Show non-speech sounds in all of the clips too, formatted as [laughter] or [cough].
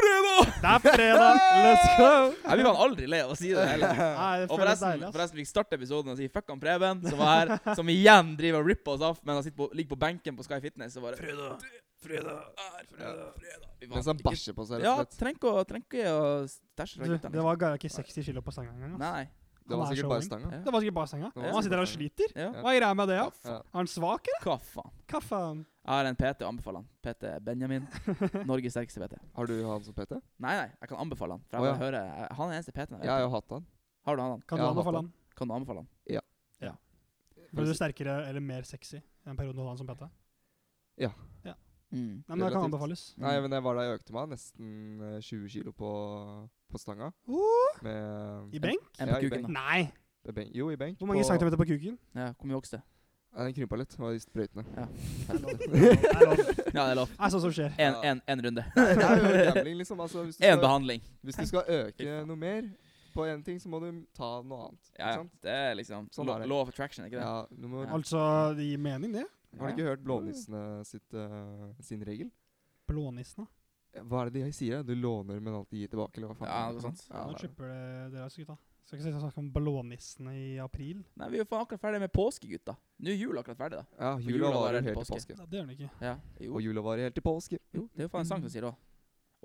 Det er fredag! Let's go! Jeg blir faen aldri lei av å si det heller. [laughs] Nei, det Og føles forresten, deilig, ass. forresten vi starter episoden og sier fuck han Preben, som var [laughs] her, som igjen driver og ripper oss off, men han sitter på, ligger på benken på Sky Fitness og bare Fredag, fredag, fredag, fredag. Fy faen, Mens han ikke- bæsjer sånn på seg, Ja, rett og slett. trenger ikke å- trenger ikke å stæsje fra Du, guttene. liksom. det var gar- ikke 60 kilo på senga engang. ass. Nei. nei. Han Det var er sikkert så bare ung. stanga. Ja. Det var sikkert bare senga. Det var Han sitter der og sikkert sliter. Ja. Hva er greia med det? Ja? Ja. Er han svak, eller? Hva faen? Hva faen? Jeg har en PT å anbefale han. PT [laughs] Benjamin. Norges sterkeste PT. Har du han som PT? Nei, nei, jeg kan anbefale han. For jeg Å, bare ja. hører, jeg- han er den eneste PT-en jeg Jeg har vet. jo hatt han. Har du han? han? Kan Jeg du har anbefale hatt han? Kan du anbefale han? Ble du sterkere eller mer sexy i den perioden du hadde han som PT? Nei, Mm. men det kan Relativt. anbefales. Nei, men jeg var der jeg økte meg nesten eh, 20 kilo på, på stanga. Uh, Med I benk? En Ja, på i kuken, da. Nei! med benk. Jo, i benk. Hvor mange på- centimeter på kuken? Ja, hvor mye vokste? Nei, Den krympa litt. Det var de sprøytene. Det er lov. Det er lov. Det Ja, det er lov. er sånt som skjer. En, Ja. en, en runde. [laughs] Det er jo gambling, liksom. Altså, hvis, du En skal, behandling. hvis du skal Fy øke faen. noe mer på én ting, så må du ta noe annet. Ja, Ikke ja. sant? Det er liksom Sånn lo- er det. law of attraction, er ikke det? Ja, du må, Ja. Altså, det gir mening, det. Har du ikke hørt blånissene sitt, eh, sin regel? Blånissene. Hva er det de sier? Du låner, men alltid gir tilbake? Eller hva faen? Ja, er det, noe ikke sånt. Nå Ja, det er det. chipper det dere også, gutta. Skal ikke si snakke om blånissene i april. Nei, vi er jo faen akkurat ferdig med påske, gutta. Nå er jula akkurat ferdig, da. ja jula varer helt til påske. Nei, det gjør den ikke. Ja, jo. Og jula varer helt til påske. jo, det er jo faen en sang som sier det sånn òg.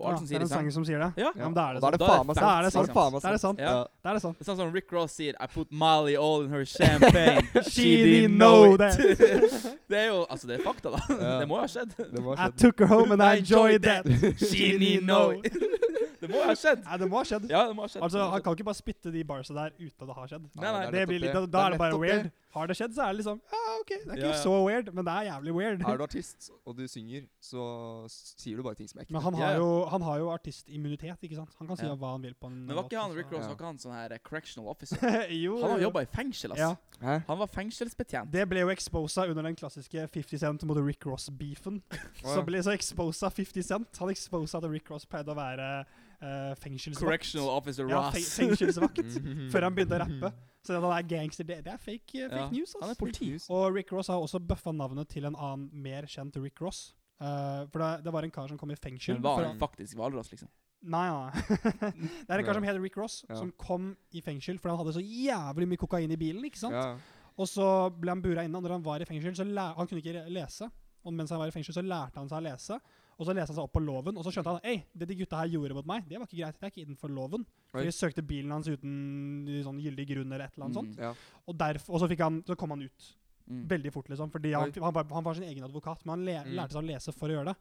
Og Ja, alt som det er sier i en sang sang. som sier det. Ja. Ja, men da er det sant. Og da er det faen meg Da er det sant. sant. faen meg Da er det sant. [laughs] Ja. Da [laughs] er det sant. Det er sånn som Rick Ross sier I put Molly all in her [laughs] champagne. She didn't know [laughs] det er jo Altså, det er fakta, da. Ja. [laughs] Det må jo ha skjedd. Det må ha I skjedd. took her home [laughs] and I enjoyed that. She didn't know it. Det må jo ha skjedd. Nei, det må ha skjedd. Ja, det må ha skjedd. Altså, Han kan ikke bare spytte de barsa der uten at det har skjedd. Nei, nei. Det, Det er nettopp blir litt, det. Da Det er er det bare nettopp weird. det. Har det skjedd, så er det liksom Ja, OK. Det er ikke Ja, ja. så weird, men det er jævlig weird. Er du artist og du synger, så s- sier du bare ting som er ekte. [laughs] Men han har, Ja, ja. jo, han har jo artistimmunitet, ikke sant? Han kan si Ja. hva han vil på en Men var ikke han Rick Ross var Ja. ikke han sånn her eh, correctional officer? [laughs] jo, Han har jo. jobba i fengsel, ass. Ja, Hæ? Han var fengselsbetjent. Det ble jo exposa under den klassiske 50 Cent mot Rick Ross-beefen. Å, Så ja. ble så exposa 50 Cent. Han exposa at Rick Ross pleide å være eh, fengselsvakt. Correctional officer ja, fe Ross. fengselsvakt. [laughs] Mhm. Før han begynte å rappe. Så at han er gangster, det, det er fake, eh, fake Ja. news. ass. Han er politi. News. Og Rick Ross har også bøffa navnet til en annen mer kjent Rick Ross. Eh, for det, det var en kar som kom i fengsel Men var for han faktisk hvalross, liksom? å- Nei, nei. [laughs] det er en kar som heter Rick Ross, Ja. som kom i fengsel fordi han hadde så jævlig mye kokain i bilen. ikke sant? Ja. Og så ble han bura inne. og Når han var i fengsel, så lær, han kunne ikke re- lese. Og mens han var i fengsel, så lærte han seg å lese. Og så leste han seg opp på loven, og så skjønte han Ei, det de gutta her gjorde mot meg, det var ikke greit. Det er ikke innenfor loven. For Oi. de søkte bilen hans uten sånn gyldig grunn eller et eller annet sånt. ja. Og, derf- og så, fikk han, så kom han ut. Mm. [laughs] Veldig fort, liksom. Fordi han, Oi. han, var, han var sin egen advokat, men han le, Mm. lærte seg å lese for å gjøre det.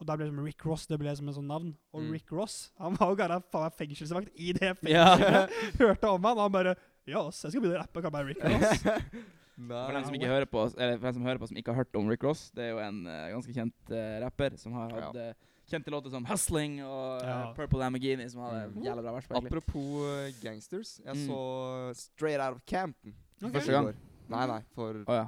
Og der ble det som Rick Ross det ble som en sånn navn. Og Mm. Rick Ross han var jo garant faen meg fengselsvakt i det Ja. fengselet. [laughs] Hørte om han, og han bare Ja, ass, jeg skal begynne å rappe, kan være Rick [laughs] Ross. For Nei. dem som ikke hører på, eller for dem som hører på som ikke har hørt om Rick Ross, det er jo en eh, ganske kjent eh, rapper som har hatt eh, kjente låter som 'Hustling' og eh, Ja. 'Purple Lamborghini', som hadde Mm. jævla bra vers. på, egentlig. Apropos eh, gangsters. Jeg Mm. så Straight Out of Campton. Ok. Første i gang. går. Nei, nei, for Å ja.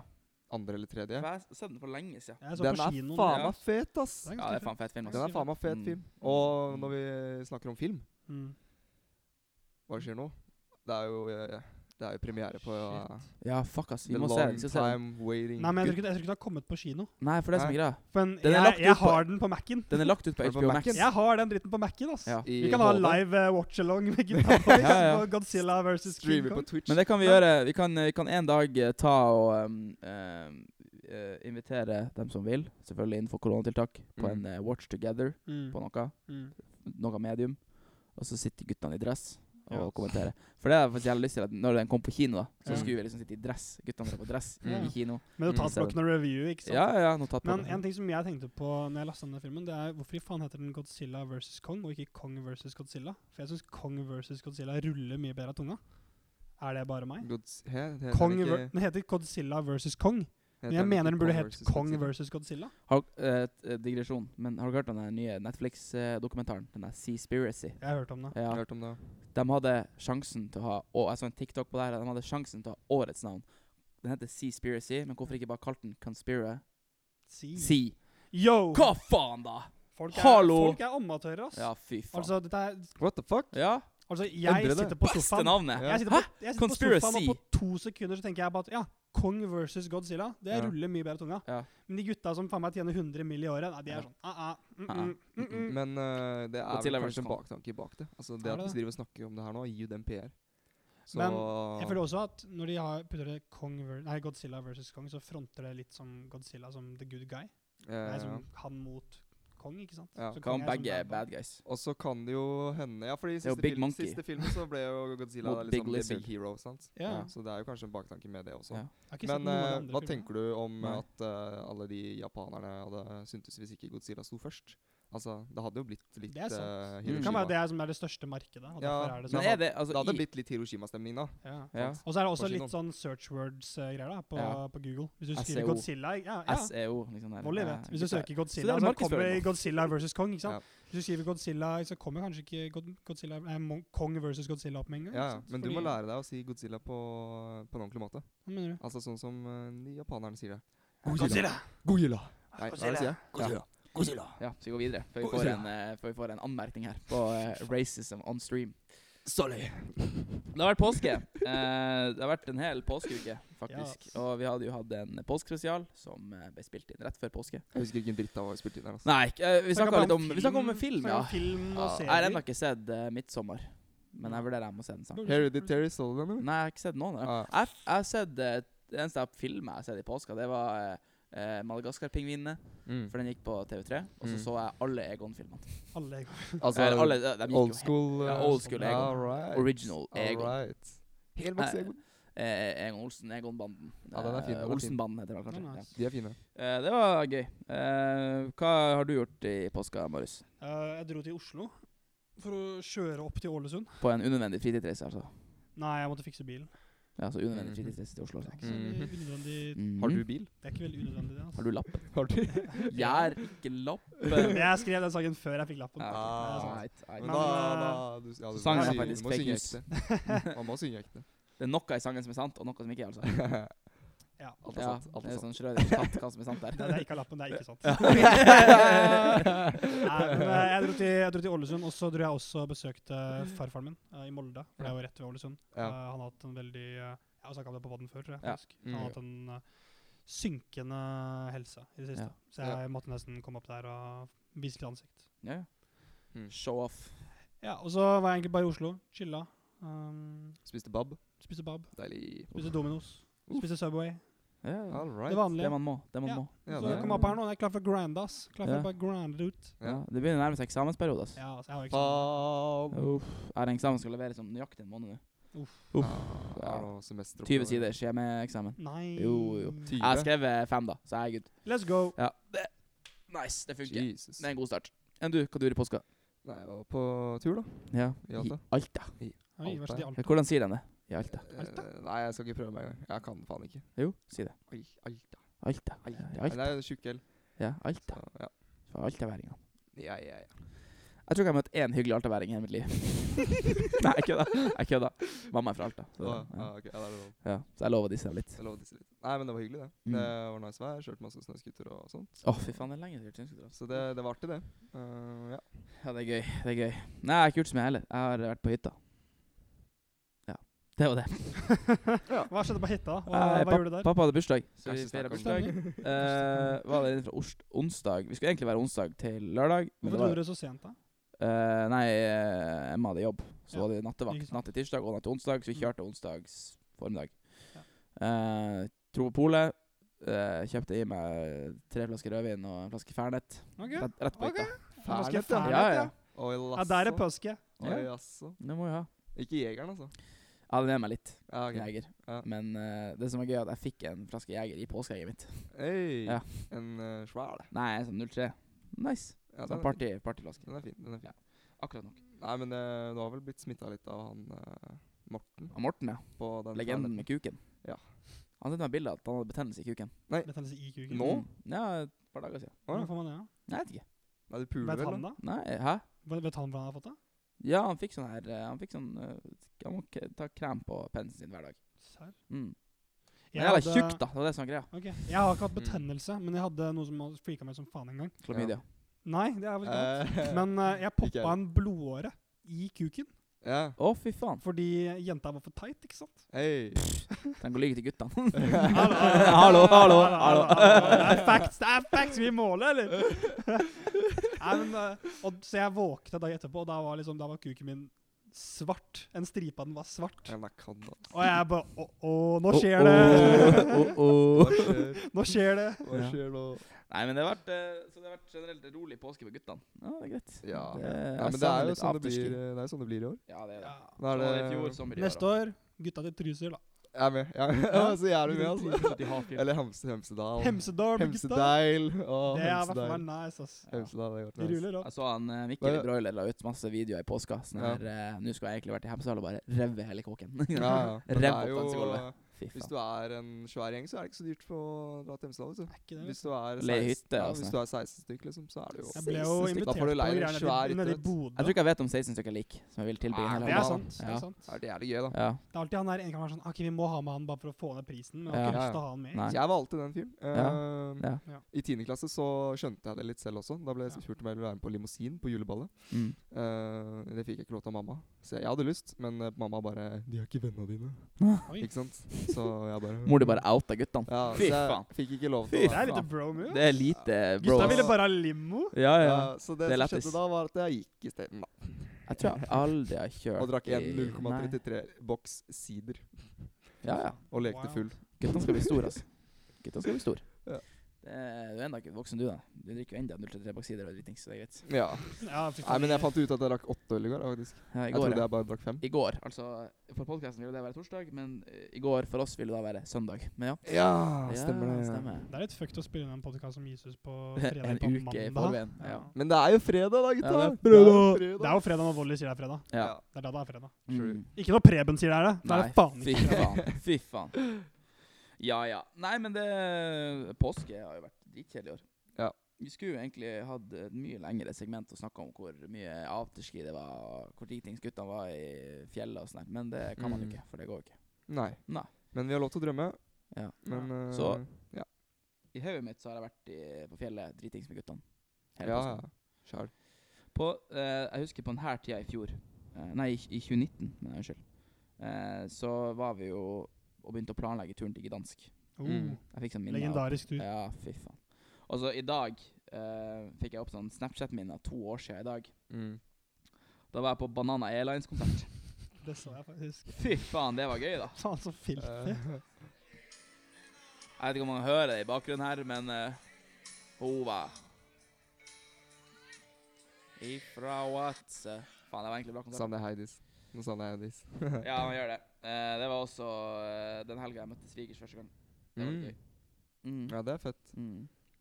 andre eller tredje. Jeg har sett den for lenge siden. Jeg så Den på er kinoen. faen ja. meg fet, ass. Det er Ja, ganske det er faen fett film. Den ass. er faen meg fet Mm. film. Og når vi snakker om film, fett. Mm. hva skjer nå? Det er jo, eh, det er jo premiere på uh, eh, Ja, fuck, ass. Vi The må se Long den. Vi skal se den. Time Waiting Nei, men jeg tror, Good. ikke, jeg tror ikke det har kommet på kino. Nei, for det som er Nei. greia. Men Den er jeg, lagt ut jeg på- har den på Mac-en. Den er lagt ut på [laughs] Er det på HBO Max. Mac-en? Jeg har den dritten på Mac-en, ass. Ja. I Vi kan ha HD. live eh, watch-along med Gita Boys [laughs] ja. og Godzilla versus King Streamer på Kong. Twitch. Men det kan vi gjøre. Vi kan, vi kan en dag eh, ta og um, um, eh, invitere dem som vil, selvfølgelig innenfor koronatiltak, på Mm. en eh, Watch Together Mm. på noe. Mm. noe medium, og så sitter guttene i dress og Ja. kommenterer. For det har jeg faktisk jævlig lyst til, at når den kom på kino, da, så Ja. skulle vi liksom sitte i dress. Guttene var på dress Mm. i kino. Med notatblokken og review, ikke sant. Ja, ja, notat på Men det. en ting som jeg tenkte på når jeg lasta ned filmen, det er hvorfor i faen heter den Godzilla versus Kong, og ikke Kong versus Godzilla? For jeg syns Kong versus Godzilla ruller mye bedre av tunga. Er det bare meg? Gods- he- heter den Kong ikke- ver den heter Godzilla versus Kong, heter men jeg ikke mener den burde Kong hett versus Kong Godzilla? versus Godzilla. Har, eh, t- eh, digresjon, men har dere hørt om den nye Netflix-dokumentaren? Den der Seaspiracy? Jeg har hørt om det. Jeg har Ja. hørt om det. De hadde sjansen til å ha Og jeg så en TikTok på det her. De hadde sjansen til å ha årets navn. Den heter Seaspiracy, men hvorfor ikke bare kalt den Conspira? Si. Sea. Yo! Hva faen, da?! Folk er, Hallo! Folk er amatører, ass. Ja, fy faen. altså, dette er What the fuck? Ja, Altså, jeg Endre det. sitter på Beste sofaen navnet! Ja. Jeg sitter, på, jeg sitter på sofaen, Conspiracy. og på to sekunder så tenker jeg bare at ja, Kong versus Godzilla, det Ja. ruller mye bedre i tunga. Ja. Men de gutta som faen meg tjener 100 mill. i året, nei, de Ja. er sånn ah, ah, mm, Ah, ah, mm, mm, mm. Men eh, det er vel Godzilla vs. kanskje en Kong. baktanke bak det. Altså Er Det det at vi det? driver og snakker om det her nå, gir jo dem PR. Så Men Jeg føler også at når de har putter det Kong ver nei, Godzilla versus Kong, så fronter det litt som Godzilla som the good guy. eh, Nei, som han mot Kong, ikke sant? Ja. Så Kong Kan er som begge bad er boy. bad guys. Og så kan det jo hende Ja, for i er jo siste, Big film, Monkey. siste filmen så [laughs] ble jo Godzilla Mot liksom Big the Lizard. big hero. sant? Ja. Ja. Så det er jo kanskje en baktanke med det også. Ja. Jeg har ikke sett Men noen av de eh, andre hva filmene. tenker du om Nei. at eh, alle de japanerne hadde syntes hvis ikke Godzilla sto først? Altså, det hadde jo blitt litt Det er sant. eh, Mm. Det kan Hiroshima. være det er som er det største markedet. Og Ja, derfor er det Men sånn. er det det altså, hadde i, blitt litt Hiroshima-stemning da. ja. ja. Og så er det også Kanskje litt noen- sånn search words-greier da, på, Ja. E på Google. Hvis du skriver SEO. Godzilla ja, ja. SEO liksom der. Vold i Ja, vett. Hvis du gutta. søker Godzilla, det er så, kommer markedsføring. Godzilla versus Kong. ikke sant? Ja. Hvis du skriver Godzilla, så kommer kanskje ikke God Godzilla, nei, Mon- Kong versus Godzilla opp med en gang. Ja, ikke ja. sant? Men du må Fordi- lære deg å si Godzilla på, på en ordentlig måte. Hva mener du? Altså sånn som eh, de japanerne sier det. Godzilla! Godzilla! Nei, hva er det Godzilla. jeg sier? Godzilla. Godzilla. Ja, så vi går videre, før vi får en, Godzilla. eh, før vi får en anmerkning her på [laughs] eh, racism on stream. Sorry. Det har vært påske. Eh, det har vært en hel påskeuke, faktisk. Ja. Og vi hadde jo hatt en påskespesial som eh, ble spilt inn rett før påske. Jeg husker ikke en dritt av hva vi spilte inn her. Altså. Nei, ikke- eh, vi bare snakka litt om, vi snakket om film, film, snakker ja. om film og Ja, Jeg har serier. ennå ikke sett eh, 'Midtsommer', men jeg vurderer jeg må se den snart. Burde- Hereditary Soul, Mm. eller? Nei, jeg har ikke sett noen av dem. Ah, Jeg, jeg har sett eh, Det eneste jeg filmet jeg har sett i påska, det var eh, eh, 'Madagaskar-pingvinene', mm. for den gikk på TV3. Og så Mm. så jeg alle Egon-filmene. Alle Altså, Eller alle, de, de gikk jo old helt- school. Ja, eh, old school Egon. All right. Original Egon. All right. Helmaks Eh, Egon. Eh, Egon Olsen, Egon-banden. Eh, Ja, den er fin, den er fin. Olsen-banden heter den Den kanskje. er Ja. nice. De er fine. Eh, det var gøy. Eh, hva har du gjort i påska, Marius? Eh, jeg dro til Oslo for å kjøre opp til Ålesund. På en unødvendig fritidsreise, altså. Nei, jeg måtte fikse bilen. Ja, altså unødvendig Mhm. fritidsreise til Oslo. altså. Ikke så veldig unødvendig. Mhm. Har du bil? Det er ikke veldig unødvendig, det. Har altså. du [laughs] lappen? Har du? Gjær ikke [laughs] Men lappen! [laughs] Jeg skrev den saken før jeg fikk lappen. Ja, Ah. Det er sant. right, right. Men Men, da, eh, da du, ja, du, sangen må er sy- faktisk du må synge fake news. ekte. [laughs] Man må synge ekte. Det er noe i sangen som er sant, og noe som ikke [laughs] er, altså. Ja. Alt er Ja, sant. Alt det er er sant. sånn Schrødingers katt, hva som er [laughs] sant Det der. det er ikke av lappen, det er ikke sant. [laughs] Nei, men eh, Ja. jeg dro, til, jeg dro til Ålesund, og så dro jeg også og besøkte farfaren min eh, i Molde. For det er jo rett ved Ålesund. Eh, han har hatt en veldig eh, Jeg har snakka om det på podden før, tror jeg. Ja. Mm. faktisk. Han har hatt en eh, synkende helse i det siste. Ja. Så jeg måtte nesten komme opp der og vise litt ansikt. Ja, ja. Mm. Show off. Ja, Og så var jeg egentlig bare i Oslo. Chilla. Um, Spiste bab. spiste bab. Deilig. Spiste Dominos. Uff. Spiste Subway. Ja, ja. All Mm. Det right. Det vanlige. man må. Det man Ja. må. Ja, så det jeg er- kom opp her nå, jeg er klar for grand, ass. Klar for Ja. bare grand ut. Ja, Ja. det begynner å nærme seg eksamensperiode. ass. Ja, altså, jeg har jo ikke sånn. Bab. Uff. Jeg har en eksamen som skal leveres om nøyaktig en måned nå. Uff. Ja. semester 20 sider skjemaeksamen. Nei. Jo, jo. Tyve. Jeg har skrevet fem, da, så jeg er good. Let's go. Ja. Det, nice, det funker. Jesus. Det er en god start. Enn du, hva du gjør i påska? Nei, jeg var på tur, da. Ja. I Alta. Alta. Oi, vær så snill, Ja, hvordan sier den det? I Alta. Alta? Eh, Nei, jeg skal ikke prøve meg engang. Jeg kan faen ikke. Jo, si det. Oi, Alta. Alta. Ja, i Nei, Alta. det er tjukk L. Ja, Alta. Så, Ja. For altaværingene. Ja, ja, ja. Jeg tror ikke jeg har møtt én hyggelig altaværing i hele mitt liv. [laughs] Nei, jeg kødda. Jeg kødda. Mamma er fra Alta. Så, Ah, ja. ah, ok. ja, det er lov. Ja, så jeg lover disse litt. Jeg lover disse litt. Nei, men det var hyggelig, det. Mm. Det var nice vær. Kjørte masse snøskuter og sånt. Å, fy faen, det er lenge siden. jeg skulle dra. Så det, det var artig, det. Eh, ja. Ja, det er gøy. Det er gøy. Nei, jeg har ikke gjort så mye heller. Jeg har vært på hytta. Ja. Det var det. Hva skjedde på hytta? Hva, Eh, hva gjorde du der? Pappa hadde bursdag, så vi Kanskje feira snakker om bursdag. Eh, var det fra orst- onsdag Vi skulle egentlig være onsdag til lørdag. Men Hvorfor det dro var, dere så sent, da? Eh, nei, eh, Emma hadde jobb, så Ja, var det nattevakt ikke sant. natt til tirsdag og natt til onsdag, så vi Mm. kjørte onsdags formiddag. Ja. Eh, dro på polet, eh, kjøpte i meg tre flasker rødvin og en flaske Fernet. Ok. Rett, rett på Ok. hytta. Ganske Fernet, ja. Eh, fernet, Ja, ja. ja. Oi, Ja, der er pøske. Ja. Oi, jaså. Det må vi ha. Ikke jegeren, altså. Jeg hadde med meg litt Ja, ok. Jeger. Ja. Men eh, det som er gøy, er at jeg fikk en flaske Jeger i påskeegget mitt. Hey, Ja. En eh, svær, det. Nei, en sånn 03. Nice. Ja, sånn party, partyflaske. Den er fin. den er fin. Akkurat nok. Nei, men det, du har vel blitt smitta litt av han eh, Morten Og Morten, ja. på den Legenden med kuken. Ja. Han sendte meg bilde av at han hadde betennelse i kuken. Betennelse i kuken. Nå? Mm. Ja, et par dager siden. Å, Hvordan ja. får man det, da? Nei, jeg vet ikke. Nei, du puler Vet vel? han da? da? Nei, hæ? Vet vet han hvordan han har fått det? Ja, han fikk sånn her eh, Han fikk sånn eh, Han må k ta krem på pensen sin hver dag. Serr? Mm. Men jeg var tjukk, da. Det var det som var greia. Ok, Jeg har ikke hatt Mm. betennelse, men jeg hadde noe som hadde freaka meg som faen en gang. Klamydia. [laughs] Nei, det er vel ikke sant. Eh, Men eh, jeg ikke jeg. poppa en blodåre i kuken. Ja. Å, fy faen. Fordi jenta var for tight, ikke sant? Hei. Tenk å lyve til guttene. Hallo, hallo, hallo, hallo. Det er facts, det er facts vi måler, eller? [laughs] Nei, men, eh, og, så jeg våkna dagen etterpå, og da var, liksom, da var kuken min svart. En stripe av den var svart. Eller Canada. Og jeg bare Å, å, nå Å, skjer det! å, å, å. [laughs] Hva [laughs] Nå skjer skjer? det! Hva Oh, Ja. skjer nå? Nei, men det har vært, eh, så det har vært generelt rolig påske for guttene. Ja, det er greit. Ja. Det- Nei, jeg men det savner er jo litt sånn det, afterski. blir, eh, det er jo sånn det blir i år. Ja, det er det. Ja. Da er Sånn var det i det- fjor, sommer i år. Neste år, gutta til Trysil, da. Jeg er med. Ja. [laughs] så jeg er jo med, altså. altså. Eller Hemse, Hemsedal. Hemsedal, gutta. Hemsedeil. Det er Å, Altså, i hvert Hemsedeil. fall nice, ass. Hemsedal, det har vært Vi nice. ruller opp. Jeg så han eh, Mikkel Nei. i Broiler la ut masse videoer i påska. Sånn Ja. her, eh, Nå skulle jeg egentlig vært i Hemsedal og bare revet hele kåken. [laughs] Ja, ja. Men det Rev er opp den til jo eh, gulvet. Fy Hvis faen. du er en svær gjeng, så er det ikke så dyrt for å dra til Hemsedal. vet du. Er ikke det, vet Hvis du er Leie 16 hytte, ja, altså. Hvis du er 16 stykk, liksom, så er det jo Jeg ble jo 16 stykker. invitert Da får du på leie en greiene svær nede- nede i idrett. Jeg Bodø. tror ikke jeg vet om 16 stykker lik, som jeg vil tilby. Nei, hele Det Ja. er dagen. sant. Det Ja. er sant. Det er jævlig gøy, da. Ja. Det er alltid han der ene kan være sånn Ok, vi må ha med han bare for å få ned prisen. Men jeg har Ja. ikke lyst til å ha han med. Nei. Jeg var alltid den fyren. Eh, Ja. Ja. I 10. klasse så skjønte jeg det litt selv også. Da ble Ja. jeg spurt om jeg ville være med på limousin på juleballet. Mm. Eh, det fikk jeg ikke lov til av mamma. Så jeg hadde lyst, men eh, mamma bare 'De er ikke vennene dine'. Oi. Ikke sant? Så jeg bare Mor di bare outa guttene. Ja, Fy så jeg faen. Fikk ikke lov Fy til Det å er litt bro move. Det er lite bro. Gutta ville bare ha limo. Ja, ja. Ja, så det, Det er som lættis. skjedde da, var at jeg gikk isteden, da. Jeg tror jeg aldri har kjørt Og drakk en i- Nei. 0,33 boks sider Ja, ja. og lekte Wow. full. Guttene skal bli store, altså. Guttene skal bli store. Ja. Det er- Du er ennå ikke voksen, du, da. Du drikker jo enda 033 baksider og dritings, så det er greit. Ja. Ja, fy Nei, faen, men jeg fant ut at jeg drakk åtte øl i går, faktisk. Ja, i Jeg går, trodde ja. jeg bare drakk fem. I går, altså For podkasten ville det være torsdag, men eh, i går for oss ville det da være søndag. Men ja. Ja, Ja, stemmer det. Stemmer. Det er litt fucked å spille inn en podkast om Jesus på fredag [laughs] En på uke i mandag. forveien. Ja. Ja. Men det er jo fredag, da, gutta. Ja, det er Det er jo Det er jo fredag når Volley sier det er fredag. Ja. Ja. Det er da det er fredag. True. Mm. Ikke når Preben sier det er det. Da er Nei, det faen fy ikke fredag. faen. [laughs] Fy faen. Ja ja. Nei, men det Påske har jo vært dritkjedelig i år. Ja. Vi skulle jo egentlig hatt et mye lengre segment og snakka om hvor mye afterski det var, hvor dritings guttene var i fjellet og sånn, her, men det kan man jo Mm. ikke, for det går jo ikke. Nei. Nei. Men vi har lov til å drømme. Ja. Men eh, Så- I hodet mitt så har jeg vært i, på fjellet dritings med guttene. Ja, hele ja. påsken. Sjæl. På, eh, jeg husker på denne tida i fjor eh, Nei, i, i 2019, men unnskyld. Eh, så var vi jo og begynte å planlegge turen til Gdansk. Oh, Jeg fikk sånn minne av- legendarisk tur. Ja, fy faen. Og så i dag eh, fikk jeg opp sånn Snapchat-minne av to år siden i dag. Mm. Da var jeg på Banana [laughs] Airlines-konsert. Det så jeg faktisk. [laughs] Fy faen, det var gøy, da. Faen, så filthy. Eh, Jeg vet ikke om man hører det i bakgrunnen her, men eh, hun var Ifra Vadsø. Faen, det var egentlig bra konsert. Savner Heidis. Nå savner jeg Heidis. Ja, man gjør det. Eh, det var også eh, den helga jeg møtte svigers første gang. Det var Mm. gøy. Mm. Ja, det er fett. Mm.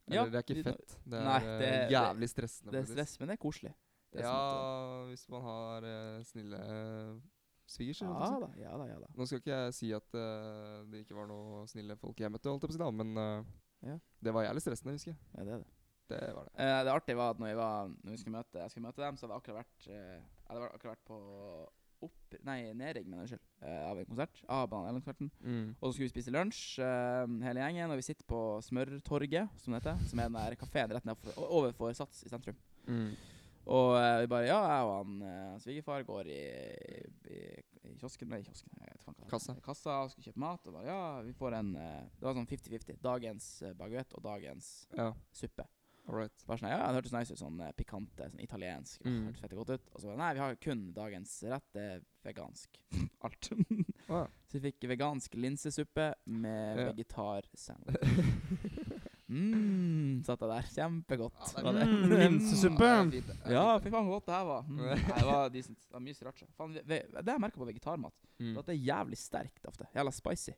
Ja, Eller det er vi- ikke fett. Det er Nei, eh, det- det- jævlig stressende. Det er faktisk. stress, men det er koselig. Det er sånn at- Ja, hvis man har eh, snille uh, svigers. eller hva ja man skal si. da. Ja da, ja da. Nå skal ikke jeg si at eh, det ikke var noe snille folk jeg møtte, holdt jeg på å si, da, men eh, Ja. det var jævlig stressende, husker jeg. Ja, det er det. Det var det. Eh, det artige var at når, jeg var, når vi skulle møte, jeg skulle møte dem, så hadde jeg akkurat vært, eh, jeg hadde vært- akkurat vært på opp, nei, nedring, men unnskyld, eh, av en konsert. Av Bananellandkonserten. Og så skulle vi spise lunsj, eh, hele gjengen, og vi sitter på Smørtorget, som det heter. Som er den der kafeen rett nedfor, o- overfor Sats i sentrum. Og eh, vi bare Ja, jeg og han eh, svigerfar går i, i, i kiosken Nei, kiosken, jeg vet faen hva det er. Kassa. Kassa og skal kjøpe mat, og bare Ja, vi får en eh, Det var sånn 50-50. Dagens eh, baguett og dagens Ja, suppe. all right. Bare sånn, ja, det hørtes nice ut, sånn eh, pikante, sånn italiensk. Mm. Hørtes fett og godt ut. Og så bare, nei, vi har kun dagens rett, det er vegansk. [laughs] Alt. Å, ja. så vi fikk vegansk linsesuppe med Ja. vegetarsandwich. mm, satt jeg der. Kjempegodt. Ja, det er var det. Mm, linsesuppe. Ja, det er fint, det er Ja, fint. fy faen hvor godt det her var. Mm. Nei, det var decent. Det var mye sriracha. Faen, ve- ve- det jeg merker på vegetarmat, Mm. er at det er jævlig sterkt ofte. Jævla spicy.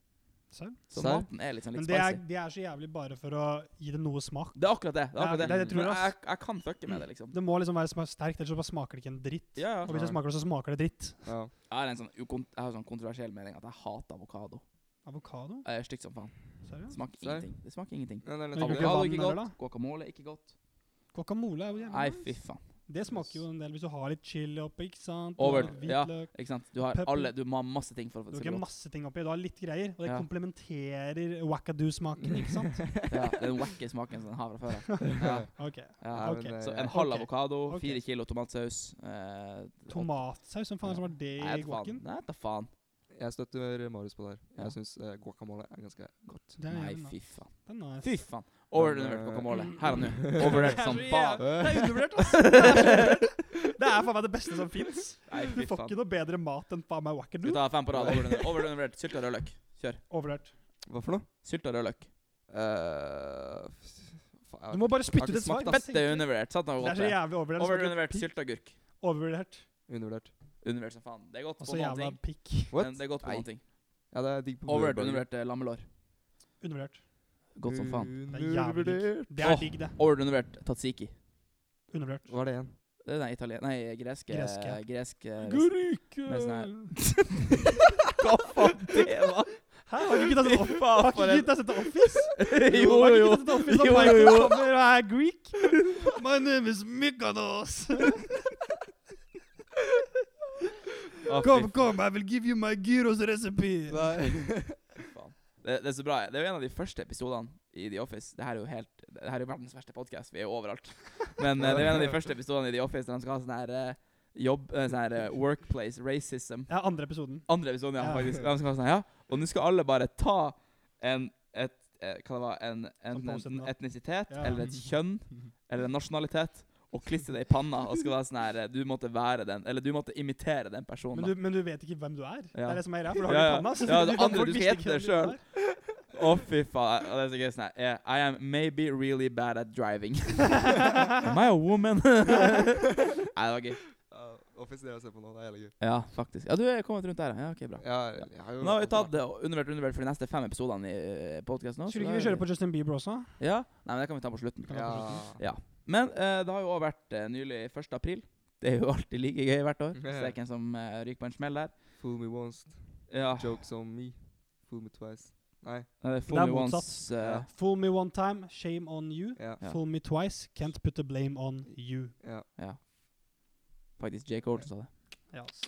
Serr? Så Serr? maten er liksom Men litt det er, spicy. det er så jævlig bare for å gi det noe smak. Det er akkurat det. det, er Ja, akkurat det. det- det tror jeg Men også. jeg, jeg kan fucke med det, liksom. Det må liksom være sma- sterkt, ellers så bare smaker det ikke en dritt. Ja, ja. Og hvis det smaker det, så smaker det dritt. Ja. Jeg har en sånn, ukon- jeg har sånn kontroversiell mening at jeg hater avokado. Avokado? Jeg er stygt som faen. Ser Det du? smaker Serr? ingenting. Det smaker ingenting. Men det er Men litt sånn- du kan ikke Avokado vann ikke eller godt. Guacamole ikke godt. Guacamole er jo jævlig Nei, nice. fy faen. Det smaker jo en del hvis du har litt chili oppi. ikke sant? Du Over- har litt ja. hvitløk. Ikke sant? Du har Pepper. alle, du må ha masse ting for at Du det har skal ikke bli godt. masse ting oppi, du har litt greier. Og det Ja. komplementerer wackadoo-smaken, [laughs] ikke sant? Ja, det er den wacky smaken som den har fra før av. [laughs] Ja, Ok. ja. Nei, [laughs] men, ok. eh, Så en halv Ok. avokado, Ok. fire kilo tomatsaus eh, Tomatsaus? Hvem faen er det som har det Nei, i jeg vet faen. guacen? Nei, jeg vet da faen. Jeg støtter Marius på det her. Ja. Jeg syns eh, guacamole er ganske godt. Det er Nei, jævlig nice. fy faen. Den er Fy faen. Overvurdert guacamole. Her og nå. Overvurdert som faen. Det Eh, er undervurdert, [laughs] ass. Det er så undervurdert. Det er faen meg det beste som fins. Nei, Du fy får faen. ikke noe bedre mat enn faen meg Vi wackadoo. tar fem på rad. Overvurdert- Overvurdert sylta rødløk. Kjør. Overvurdert. Hva for noe? Sylta rødløk. Eh, f- faen, Du må bare spytte ut Jeg har ikke et svar. smakt, Bare Ass, tenk- Det er undervurdert. Sant? Det var Det er godt, så det. jævlig overvurdert. Overvurdert Pikk. sylteagurk. Overvurdert. Undervurdert. Undervurdert som faen. Det er godt Og på så noen jævla ting. pikk. What? Men det er godt på Nei. noen ting. Ja, det er digg på Overvurdert burger. undervurdert eh, lammelår. Undervurdert. Godt Mm. som faen. Det er jævlig Undervurdert. digg. Det er Åh. digg, det. Overvurdert undervurdert tatsiki. Undervurdert. Hva er det igjen? Det er den italien... Nei, greske Greske, Greske. eh, Gurke! med sånn Hva faen det var? Hæ? Har du ikke [laughs] tatt et off- har ikke gutta sett The Office? Jo, Har jo. [laughs] ikke gutta sett The Office? at [laughs] Jo, Michael jo. kommer og er Greek? My name is Mykonos. Å, fy come, I will give you my gyros recipe. [laughs] faen. Det, det er så bra. Det er jo en av de første episodene i The Office. Det her er jo helt Det her er jo verdens verste podkast. Vi er jo overalt. Men eh, det er jo en av de første episodene i The Office der de skal ha sånn her eh, jobb eh, Sånn her eh, workplace racism. Ja, andre episoden. Andre episoden, ja, Ja. faktisk. De skal ha sånn, ja. Og nå skal alle bare ta en et, eh, Hva det var En, en, Ta posen, en da. etnisitet Ja. eller et [laughs] kjønn eller en nasjonalitet og klistre det i panna. Og skal være sånn her eh, Du måtte være den Eller du måtte imitere den personen. Men da. du, men du vet ikke hvem du er? Det Ja. er det som er greia, for du har Ja, det i ja. panna. så Ja, det kan- andre folk du visste heter ikke hvem det du selv. var. Å, fy faen. Og det er så gøy sånn her. eh, I am maybe really bad at [laughs] driving. am I a woman? Nei, det var gøy. Ja, Office, det jeg ser på nå, det er jævlig gøy. Ja, faktisk. Ja, du er kommet rundt der, ja. Ja, ok, bra. Ja, jeg har jo Nå har vi tatt det og undervurdert undervurdert for de neste fem episodene i eh, podcasten nå. så Skulle da ikke vi er kjøre på Justin Bieber også? Ja. Nei, men det kan vi ta på slutten. Ja. Men eh, det har jo også vært eh, nylig 1. april. Det er jo alltid like gøy hvert år. Så det er ikke en som eh, ryker på en smell der. Fool me once, Ja. jokes on me. Fool me twice. Nei. Det er, Det er Once, eh, Ja. Fool me one time, shame on you. Ja. Ja. Fool me twice, can't put the blame on you. ja. faktisk J. Cole som sa det. Ja, ass.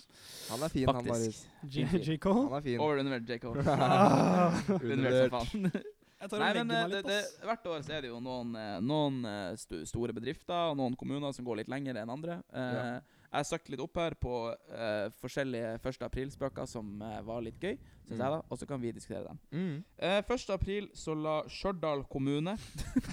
Han er fin, han Faktisk. Marius. J. Fint. J. Cole. Han er fin. Overundervurdert J. Cole. Ah. Undervurdert som faen. Jeg tar og Nei, legger men eh, meg det, litt, det, ass. Hvert år så er det jo noen, eh, noen eh, sto- store bedrifter og noen kommuner som går litt lenger enn andre. Eh, Ja. Jeg har søkt litt opp her på eh, forskjellige 1. april-spøker som eh, var litt gøy, synes jeg da, og så kan vi diskutere dem. Mm. Eh, 1. april så la Stjørdal kommune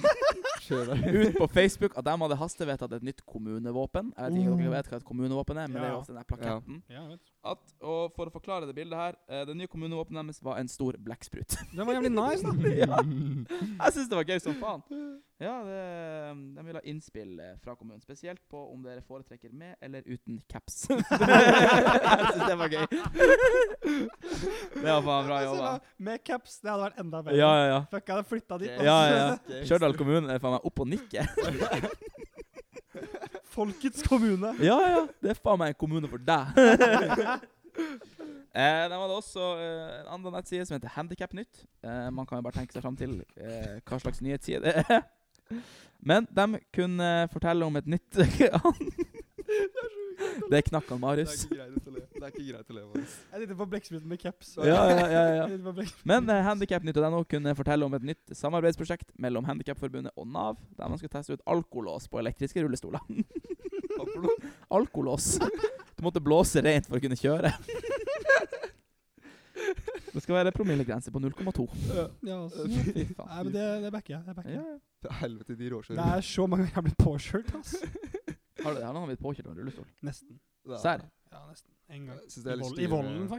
[laughs] Kjør deg. ut på Facebook at de hadde hastevedtatt et nytt kommunevåpen. Jeg vet ikke om dere vet hva et kommunevåpen er, men det er Ja. jo ofte den der plaketten. Ja, jeg vet. At, og for å forklare det bildet her, eh, det nye kommunevåpenet deres var en stor blekksprut. [laughs] Den var jævlig nice, da. ja. Jeg syns det var gøy som faen. Ja, det, De vil ha innspill eh, fra kommunen, spesielt på om dere foretrekker med eller uten caps. [laughs] jeg syns det var gøy. det var faen bra Altså, jobba. da, Med caps, det hadde vært enda bedre. Ja, ja, ja. Fuck, jeg hadde flytta dit. Ja, ass. ja, ja. Stjørdal kommune er faen meg opp og nikke. Folkets kommune. [laughs] Ja, ja. Det er faen meg en kommune for [laughs] deg. Eh, de hadde også eh, en annen nettside som heter Handikapnytt. Eh, man kan jo bare tenke seg fram til eh, hva slags nyhetsside det er. Men de kunne fortelle om et nytt [laughs] Det knakk han Det er Marius. ikke greit å le. Det er ikke greit å le, Marius. Jeg sitter på blekkspruten med caps. Ja, ja, ja, ja. [laughs] Jeg sitter på blekkspruten. Men eh, Handikapnytt.no kunne fortelle om et nytt samarbeidsprosjekt mellom Handikapforbundet og Nav, der man skulle teste ut alkolås på elektriske rullestoler. alkolås. Du måtte blåse rent for å kunne kjøre. Det skal være promillegrense på 0,2. Ja, ass. Fy Nei, faen. men det, det backer jeg. Det, backer Ja, jeg. ja. Til helvete, de det råkjører. er så mange ganger jeg blir påkjørt, [laughs] ass. Har du det? Har noen blitt påkjørt av en rullestol? Nesten. Det er- Serr? Ja, nesten. En gang. Jeg synes I det er litt vold- I volden, styr,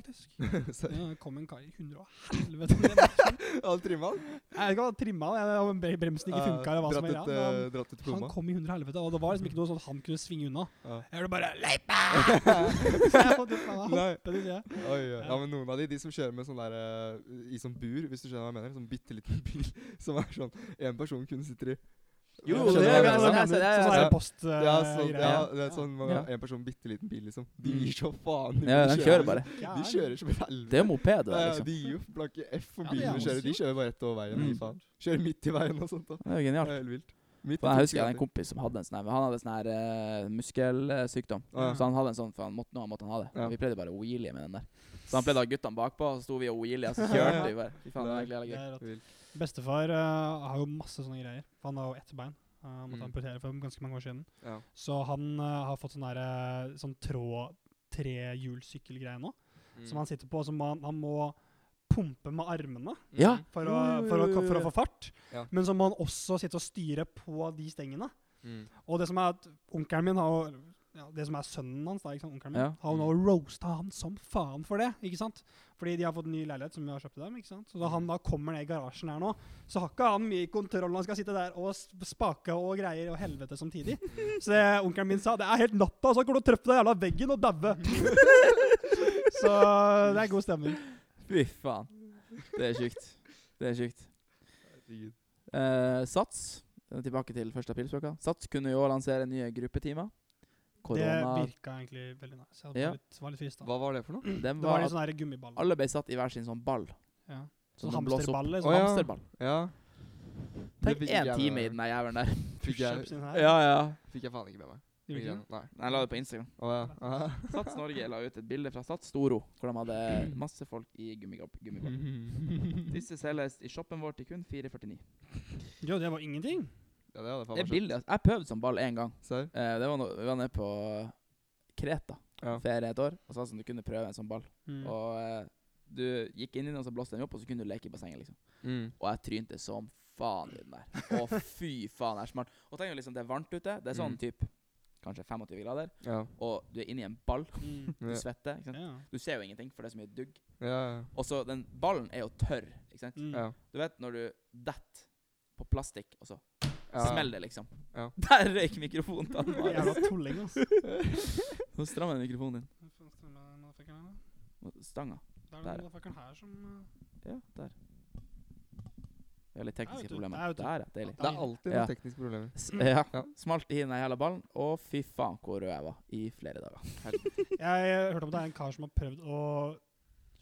[laughs] faktisk. Serr. Ja, det kom en kar i hundre og [laughs] helvete. om det. Han trimma han. Jeg vet ikke hva trimma han, jeg- om bre- bremsen ikke funka, eller hva som Dratt er ut, greia. men eh, Dratt ut Han, han plomma. kom i hundre og helvete, og det var liksom ikke noe sånn at han kunne svinge unna. Ja. Jeg hørte bare [laughs] 'Leipa!' Så jeg måtte faen meg Nei. hoppe til sida. Oi, ja. ja, men noen av de, de som kjører med sånn der eh, i sånn bur, hvis du skjønner hva jeg mener, sånn bitte liten bil [laughs] som er sånn én person kunne sitte i. Jo, Ja, jo, skjønner det er- du hva det er- jeg mener? det er- Sånn ja. er post eh, Ja, sånn, greier. ja, det er sånn man Ja. har en person bitte liten bil, liksom. De Mm. gir så faen i Ja, bilen, de kjører bare. Ja, De kjører som et helvete. Det er jo moped, det Ja, der, ja, liksom. De gir jo blanke F for Ja, det bilen er de kjører. De massivt. kjører bare rett over veien. Mm. de faen. Kjører midt i veien og sånt. da. Det er jo Det genialt. er helt vilt. Midt i For jeg husker jeg hadde en toppskader. kompis som hadde en sånn her, men han hadde sånn her eh, muskelsykdom. Å, ja. Så han hadde en sånn, for han måtte, nå måtte han ha det. Ja. Vi pleide bare å wheelie med den der. Så han pleide å ha guttene bakpå, og så sto vi og wheelia, så kjørte vi bare. Fy faen, det var egentlig Det jævlig gøy. er rått. Vilt. Bestefar eh, har jo masse sånne greier. for Han har jo ett bein. Han måtte Mm. amputere for ganske mange år siden. Ja. Så han eh, har fått sånn derre sånn tråd trehjulssykkelgreie nå, Mm. som han sitter på. Som han, han må pumpe med armene Ja. for å, Jo, jo, for å, jo, jo, for å jo. få fart. Ja. Men så må han også sitte og styre på de stengene. Mm. Og det som er at onkelen min har jo ja, Det som er sønnen hans, da, ikke sant, onkelen min, Ja. har jo nå roasta han som faen for det. ikke sant? Fordi de har fått ny leilighet som vi har kjøpt til dem. ikke sant? Så da han da kommer ned i garasjen her nå, så har ikke han mye kontroll. Han skal sitte der og s- spake og greier og helvete samtidig. Så det onkelen min sa, det er helt natta, så kommer du og treffer den jævla veggen og daue. [laughs] så det er god stemning. Fy faen. Det er sjukt. Det er sjukt. Herregud. Eh, Sats, eh, tilbake til 1. aprilspøka. Sats kunne jo lansere nye gruppetimer. Det Korona virka egentlig veldig nice. Jeg Ja. var litt, var litt frista. Hva var det for noe? Den Det var var at litt sånn her gummiball. alle ble satt i hver sin sånn ball. Ja. Som Sånn de blåser opp. hamsterball. Å, Liksom. ja. Hamsterball. Ja. Det Tenk fikk én ikke jeg time med i den der jævelen [laughs] der. Fikk Pushups jeg, inn her. Ja, ja. fikk jeg faen ikke med meg. Gjorde ikke det? Migrene. Nei. Nei, Jeg la det på [laughs] Instagram. Å ja. Aha. Sats Norge la ut et bilde fra Sats Storo, hvor de hadde [clears throat] masse folk i gummigab- gummiball. [laughs] Disse selges i shoppen vår til kun 449. Jo, det var ingenting. Ja, det hadde faen Det er meg skjønt. billig. ass. Jeg prøvde sånn ball én gang. Serr? Eh, det var no vi var nede på Kreta, Ja. ferie et år, og så var det sånn du kunne prøve en sånn ball. Mm. Og eh, du gikk inn i den, og så blåste den opp, og så kunne du leke i bassenget, liksom. Mm. Og jeg trynte som faen i den der. Å, fy faen, jeg er smart. Og tenk jo liksom, det er varmt ute. Det er sånn Mm. typ kanskje 25 grader, Ja. og du er inni en ball. Mm. Du Ja. svetter. ikke sant? Ja. Du ser jo ingenting, for det er så mye dugg. Ja. Og så den ballen er jo tørr. ikke sant? Mm. Ja. Du vet når du detter på plastikk, og så ja. smeller det, liksom. Ja. [laughs] Der røyk mikrofonen! til han [laughs] Jævla Marius. tulling, [laughs] ass. Nå strammer jeg mikrofonen din. Det Stanga. er Der. den motherfuckeren her som eh, Ja, der. Vi har litt vet tekniske du. problemer. Der vet du. Der, ja. Deilig. Det er alltid noen Ja. tekniske problemer. S Mm. ja. Ja. Smalt i den jævla ballen, og fy faen hvor rød jeg var i flere dager. Jeg eh, hørte om det er en kar som har prøvd å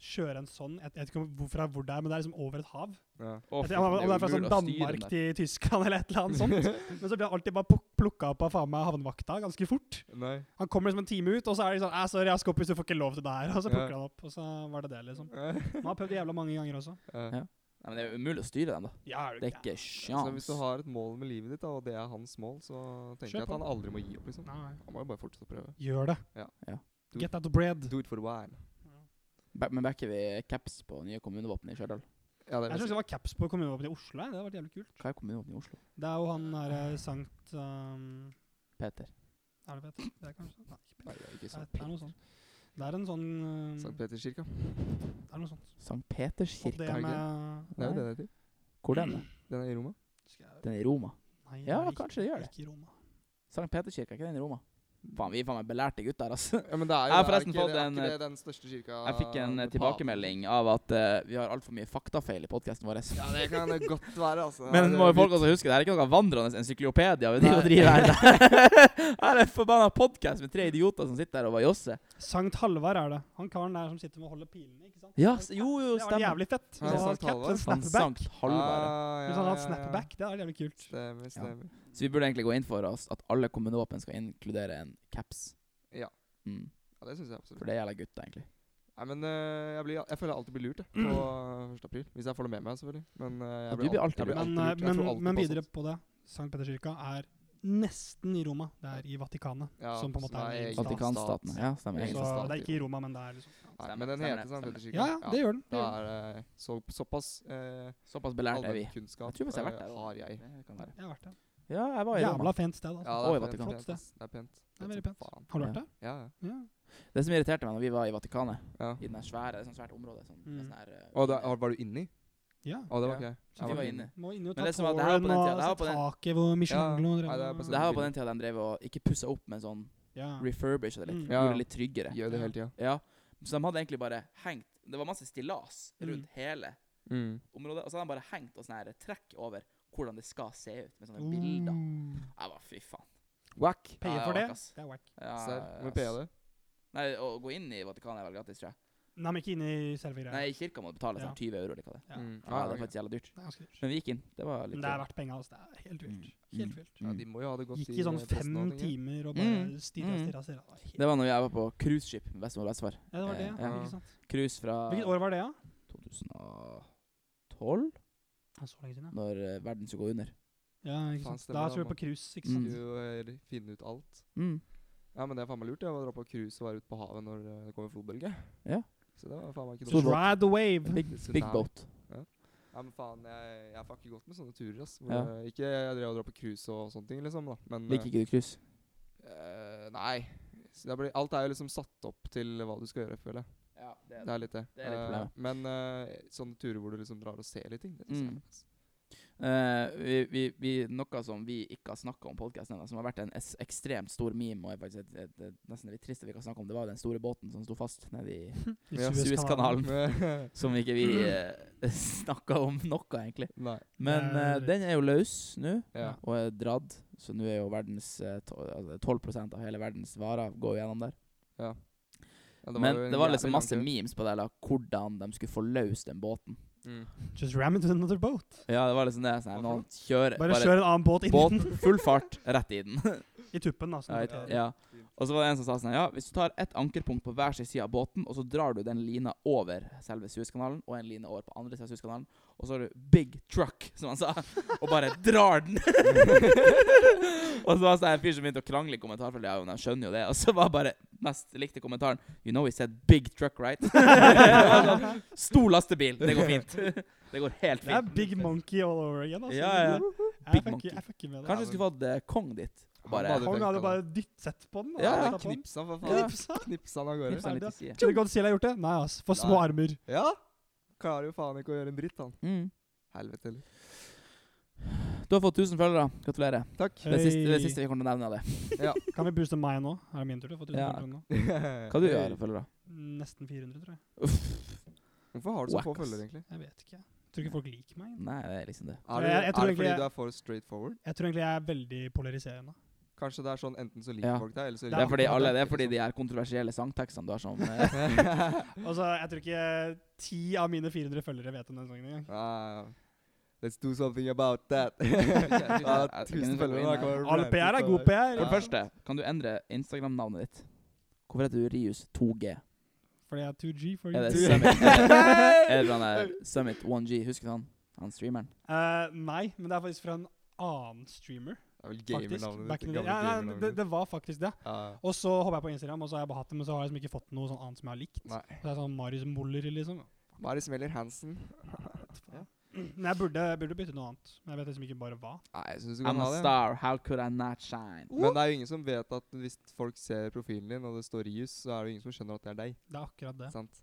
kjøre en sånn Jeg, jeg vet ikke om- hvorfor det er hvor det er, men det er liksom over et hav. Å, Ja. Jeg fy tror- om faen, om det er fra jo umulig sånn å styre Danmark den der. til Tyskland eller et eller annet [laughs] sånt. Men så blir han alltid bare plukka opp av faen meg havnevakta ganske fort. Nei. Han kommer liksom en time ut, og så er det sånn «Æ, 'Sorry, jeg er skoppis, du får ikke lov til det her.' Og så plukker Ja. han opp, og så var det det, liksom. [laughs] Ja. Han har prøvd jævla mange ganger også. Ja. Nei, men det er jo umulig å styre den, da. Ja, er du Det er ikke gæren? Så hvis sjans. du har et mål med livet ditt, da, og det er hans mål, så Kjør tenker jeg at på. han aldri må gi opp. liksom. Nei. Han må jo bare fortsette å prøve. Gjør det. Ja. Ja. Get that bread. Do it for a while. Ba- Men backer vi caps på nye kommunevåpen i Stjørdal? Ja, det Jeg vil syns si. det var caps på kommunevåpenet i Oslo. jeg. Det hadde vært jævlig kult. Hva er kommunevåpen i Oslo? Det er jo han der eh, Sankt ehm, Peter. Er det Peter? Det er kanskje Nei, ikke Nei, det er Peter. ikke sant. Det er noe sånt. Det er en sånn ehm, Sankt Peters kirke. Det er noe sånt. Sankt Og det Peterskirka? er ikke med Det er Nei. jo den heter. Hvor den er? Den er i Roma. skal jeg, Den er i Roma. Nei, Ja, det er ikke- kanskje det gjør det. Ikke i Roma. Sankt Peterskirka, er ikke den i Roma? Faen, vi er faen meg belærte gutter, altså. Ja, men det er Jeg har jo det er forresten ikke, fått det er en, eh, ikke det den største kirka Jeg fikk en eh, med paven. tilbakemelding av at eh, vi har altfor mye faktafeil i podkasten vår. Ja, det kan det godt være, altså. Men Det må er jo folk litt- også huske, det her er ikke noe vandrende encyklopedia vi driver og Nei. driver [laughs] [laughs] her. Her er en forbanna podkast med tre idioter som sitter der og bare josser. Sankt Halvard er det. Han karen der som sitter med og holder pilene, ikke sant? Ja, s- Det jo, jo, hadde vært stemmer. jævlig fett. Ja, Hvis han hadde caps, Sankt Halvard. en Sånn snapback. Sankt Halvard. Ah, Hvis han hadde hatt ja, ja, ja. snapback, det hadde vært jævlig kult. Stemmer, stemmer. Så vi burde egentlig gå inn for oss at alle kommunevåpen skal inkludere en caps. Ja. Mm. Ja, det syns jeg absolutt. For det gjelder gutter, egentlig. Nei, men eh, jeg, blir, jeg føler jeg alltid blir lurt jeg, Mm. på 1. april. Hvis jeg får det med meg, selvfølgelig. Men eh, Ja, jeg du blir al- alltid jeg lurt. Men, alltid eh, lurt. Jeg tror men, alltid men på videre sånt. på det. Sankt Peterskirka er nesten i Roma. Det er i Vatikanet. sånn- Ja, som på en måte som er er en egen egen- stat. Vatikanstaten. Ja, stemmer. egen Så stat, det er ikke jo. i Roma, men det er liksom Nei, Stemmer, men den stemmer heter det, Sankt stemmer. Peterskirka. Ja, ja, det gjør den. Det Da gjør den. er det så, såpass eh, Såpass belært er vi. allmennkunnskap Jeg tror faktisk jeg har eh, vært der. har jeg. Det kan være. Jeg har vært der. Ja, jeg var i Roma. Jævla fent sted. og Altså. i pent, Vatikanet. Flott sted. ass. Det er pent. Det er som veldig pent. faen. Har du Ja. vært der? Ja, ja. Ja. Det som irriterte meg når vi var i Vatikanet, ja. i det der svære, det er sånn svært område sånn, med Mm. sånn her, eh, Og da, var du inni? ja. Å, det var Ja. ikke jeg. Vi Jeg var ikke inne. Må inn Men og ta det som var- det her var på tåren den og tida- det her var på se den- taket hvor Michelangelo nei, det er drev på og- Det her var på den tida de drev og ikke pussa opp, men sånn Ja. refurbisha det litt. Mm. Ja. Gjorde det litt tryggere. Gjør det hele tida. Ja. Så de hadde egentlig bare hengt Det var masse stillas rundt Mm. hele Mm. området, og så hadde de bare hengt og sånn her trekk over hvordan det skal se ut, med sånne bilder. Uh, Jeg var fy faen. Whack! Paye Ja, for det det? var kass. Det er wack. Ja, Serr. E Hvor ass. mye er det? Nei, å gå inn i Vatikanet er vel gratis, tror jeg. Nei, men ikke inne i selve greia. Nei, i kirka må du betale Ja. sånn 20 euro eller hva det er. Ja. Mm. Ja, ok. det er faktisk jævla dyrt. Det er ganske dyrt. Men vi gikk inn. Det var litt Men det er verdt penga. Altså. Det er helt vilt. Mm. Helt vilt. Mm. Ja, de må jo ha det godt Gikk i sånn E eh, pressen fem og ting, ja. timer og bare Mm. stirra, Mm. stirra, stirra. Det var helt- Det var når jeg var på cruiseskip med bestemor og bestefar. Ja, det var det, eh, ja. ja. Ikke sant? Cruise fra Hvilket år var det, da? 2012, Ja? Så lenge siden, ja. når eh, verden skulle gå under. ja ikke Faen, sant? stemmer Da det, tror jeg man. på cruise, ikke Mm. sant. Skulle jo eh, finne ut alt. Ja, men det er faen meg lurt ja, å dra på cruise og være ute på havet når eh, det kommer flodbølge. Ja. Så det var faen meg ikke Stor dumt. båt. Ride the wave! Big, Tsunami. big boat. Ja, men faen, jeg, jeg fucker godt med sånne turer, ass. Hvor, Ja. eh, Ikke jeg drev og drar på cruise og sånne ting, liksom, da. Men eh, Liker ikke du cruise? eh, Nei. Så det blir, alt er jo liksom satt opp til hva du skal gjøre, føler jeg. Ja, Det er litt det. Det er litt Eh, problemet. men eh, sånne turer hvor du liksom drar og ser litt ting, det synes jeg er Mm. nice. [laughs] Eh, vi, vi, vi, noe som vi ikke har snakka om i podkasten ennå, som har vært en es ekstremt stor meme, og er faktisk et, et, et, nesten litt trist at vi ikke har snakka om, det var den store båten som sto fast nede [laughs] i I Ja, Suezkanalen. Men- Som ikke vi eh, [laughs] snakka om noe, egentlig. nei. Men eh, Det er- den er jo løs nå, Ja. Ja. og er dratt. Så nå er jo verdens eh, to- altså 12 av hele verdens varer går gjennom der. Ja, Men jo en det var jævlig liksom lang masse tur. memes på det, eller hvordan de skulle få løs den båten. Mm. Just ram into another boat. Ja, det var liksom det. Sånn, her, Hva for noen kjører Bare kjør en annen båt inn båt, full fart, rett [laughs] i den. i tuppen. da. Ja, [laughs] Sånn, et- at- ja. Og så var det en som sa sånn Ja, hvis du tar ett ankerpunkt på hver sin side av båten, og så drar du den lina over selve Suezkanalen, og en line over på andre siden av Suezkanalen, og så har du Big Truck, som han sa, [laughs] og bare drar den. [laughs] og så var det en fyr som begynte å krangle i kommentarfeltet, ja, men jeg skjønner jo det, og så var bare mest likte kommentaren You know he said big truck, right? [laughs] Det var sånn, Stor lastebil, det går fint. Det går helt Det er fint. Big Monkey all over again. Altså. Ja, ja. Jeg Big fucker, Monkey. jeg fucker med det. Kanskje vi skulle fått eh, Kong dit. Bare hadde Kong funket, hadde da. bare dyttsett på den. da. Ja, ja. Dyttet på den. Knipsa, for faen. Ja. Knipsa. Knipsa han av gårde. knipsa han litt i siden. Tror du Godzilla har gjort det? Nei, ass. For små Nei. armer. Ja! Klarer jo faen ikke å gjøre en dritt, han. Mm. Helvete heller. Du har fått 1000 følgere. Gratulerer. Takk. Det er siste, det Hey. er siste vi kommer til å nevne av det. Kan vi booste meg nå? Er det min tur til å få 1000 Ja. kroner nå? Hva du gjør du av følgere? Nesten 400, tror jeg. Hvorfor har du så Whack, få ass. følgere, egentlig? Jeg vet ikke. Jeg tror ikke folk liker meg. Nei, det er liksom det. Er, du, Jeg- jeg tror er det egentlig fordi jeg- du er for straight forward? Jeg tror egentlig jeg er veldig polariserende. Kanskje det er sånn enten så liker Ja. folk deg, eller så Det Det er er fordi, folk alle, deg, det er fordi [laughs] liksom. de her kontroversielle sangtekstene du har som [laughs] eh, Altså, jeg tror ikke ti av mine 400 følgere vet om den sangen engang. Ah, [laughs] Let's do something about [laughs] that. Ja, ah, jeg tusen kan følgere, da. gå inn kan her. jeg All rappe PR på er god deg. PR. For det første, kan du endre Instagram-navnet ditt? Hvorfor heter du Rius2G? Fordi jeg er 2G for Er det [laughs] you. Summit Er det den der Summit 1G? Husker du han? Han streameren? [laughs] Eh, nei, men det er faktisk fra en annen streamer. Det er vel Faktisk. gamernavnet Back ditt. in the, gamle ja, nei, gamernavnet det, ditt. det var faktisk det. Ja, Og så hoppa jeg på Instagram, og så har jeg bare hatt det, men så har jeg liksom ikke fått noe sånn annet som jeg har likt. Nei. Så det er sånn Marius Moller, liksom. Mari Smeller Hansen. [clears throat] Men jeg burde, burde bytte noe annet. Men jeg vet liksom ikke bare hva. Nei, jeg syns du kan I'm a ha det. star, how could I not shine? Men det er jo ingen som vet at hvis folk ser profilen din, og det står Rius, så er det jo ingen som skjønner at det er deg. Det er akkurat det. Sant?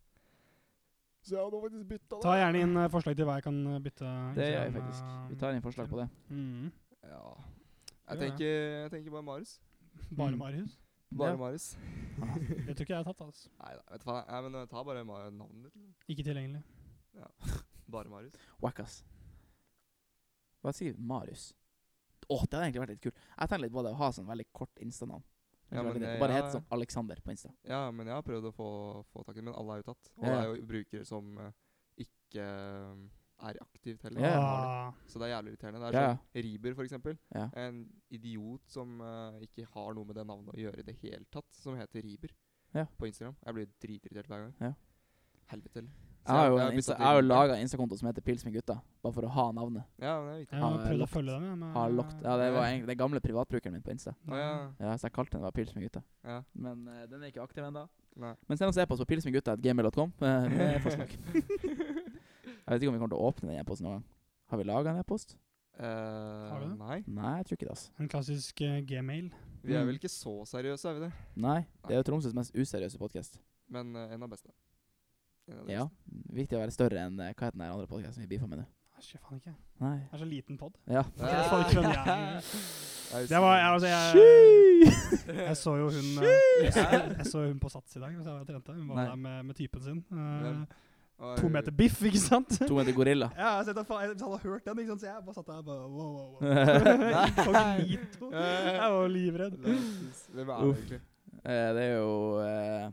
Så jeg hadde faktisk bytta Ta gjerne inn eh, forslag til hva jeg kan eh, bytte. Det gjør jeg Instagram, faktisk. eh, Vi tar inn forslag på det. Mm. Ja. Gjør Jeg det. tenker, jeg tenker bare Marius. Bare Mm. Marius? Bare Ja. Marius. Det tror ikke jeg har tatt. altså. Nei da, vet du faen. Nei, men eh, ta bare Ma- navnet ditt. Ikke tilgjengelig. Bare Marius. Whack, ass. Hva sier vi? Marius? Å, det hadde egentlig vært litt kult. Jeg tenker litt på det å ha sånn veldig kort Insta-navn. Ja, men det- Bare ja, hete sånn Alexander på Insta. Ja, men jeg har prøvd å få, få tak i den, men alle er jo tatt. Og Ja, det ja. er jo brukere som eh, ikke eh, er aktivt heller. Ja, ja. Har Ah, det. Så det er jævlig irriterende. Det er Ja, sånn Riber, for eksempel. Ja. En idiot som eh, ikke har noe med det navnet å gjøre i det hele tatt, som heter Riber Ja. på Instagram. Jeg blir dritirritert hver gang. Ja. Helvete heller. Så eh, Jeg har jo, jeg en byttet Insta, til jeg har jo Riber. laga en Insta-konto som heter Pils med gutta, bare for å ha navnet. Ja, men det er viktig. jeg har Har prøvd å locked. følge dem, jeg, men Ah, eh, Ha locked. Ja, det var egentlig den gamle privatbrukeren min på Insta. Å ja. Ja, Så jeg kalte den bare Pils med gutta. ja. Men eh, den er ikke aktiv ennå. Nei. Men send oss e-post på pilsmedgutta.gmail.com. eh, [laughs] med forslag. jeg vet ikke om vi kommer til å åpne den e-posten noen gang. Har vi laga en e-post? har du det? Eh, Nei. Nei, jeg tror ikke det. altså. En klassisk eh, gmail. Vi er Mm. vel ikke så seriøse, er vi det? Nei, Det er jo Tromsøs mest useriøse podkast. Men eh, en av beste. En av de Ja. beste. Viktig å være større enn eh, hva heter den der andre podkasten vi beefa med nå? Jeg skjønner Ah, faen ikke. Nei. Det er så liten pod. Ja. Jeg får ikke skjønne jeg. Jeg Det var, jeg, altså, jeg, Skyy! jeg så jo hun eh, jeg så, jeg så hun på Sats i dag. Hvis jeg trente. Hun var Nei. der med, med typen sin. Eh, Hvem? Oi. to meter biff, ikke sant? To meter gorilla. Ja, altså, jeg har sett at faen- jeg hadde hørt den, ikke sant? så jeg bare satt der og bare wow, wow, [laughs] wow. Nei. Inkognito. Jeg var Det livredd. [laughs] er faktisk- Hvem er det Uff. egentlig? Eh, det er jo eh,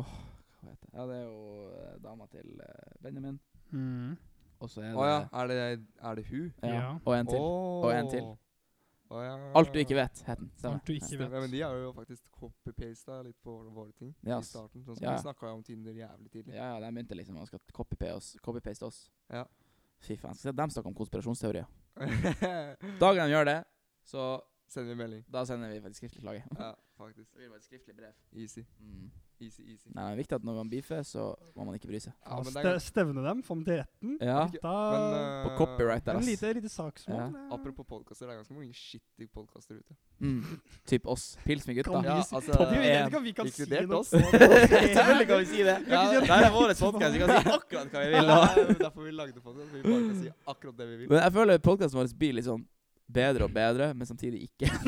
Åh, hva heter det? Ja, det er jo eh, dama til eh, Benjamin. Mm. Og så er Å det ja, er det, er det hun? Ja, Ja. Og en til. Og en til. Å ja. Alt du ikke vet, het den. Stemmer. Alt du ikke Ja, men vet. de har jo faktisk copy-pasta litt på våre ting Ja, i ass. starten. Sånn som Ja, ja. Vi snakka jo om Tinder jævlig tidlig. [laughs] Ja, ja, de begynte liksom å skal copy-paste oss. Copy oss. Ja. Fy faen. Skal se, de snakker om konspirasjonsteorier. Dagen de gjør det, så Sender vi melding. da sender vi faktisk skriftlig klage. [laughs] Ja, faktisk. Det blir bare et skriftlig brev. Easy. Mm. Easy, easy. Nei, det er viktig at når man beefer, så må man ikke bry seg. Ja, men det Ste er, stevne dem, få dem til retten. Ja, Ikke- Da men, på eh, copyright der, En ass. lite, lite saksmål. eh. Apropos podkaster, det er ganske mange shitty podkaster ute. Mm. Typ oss. Pils med gutta. Kan vi Ja, si- altså, Kan vi- jeg vet ikke om vi kan si inkludert noe [laughs] oss. sånt. [laughs] Selvfølgelig kan vi si det. Ja, det her er vår podcast, vi kan si akkurat hva vi vil. Ja, det er derfor vi lagde podkast. Vi bare kan si akkurat det vi vil. Men jeg føler podkasten vår blir litt sånn bedre og bedre, men samtidig ikke. [laughs] [laughs]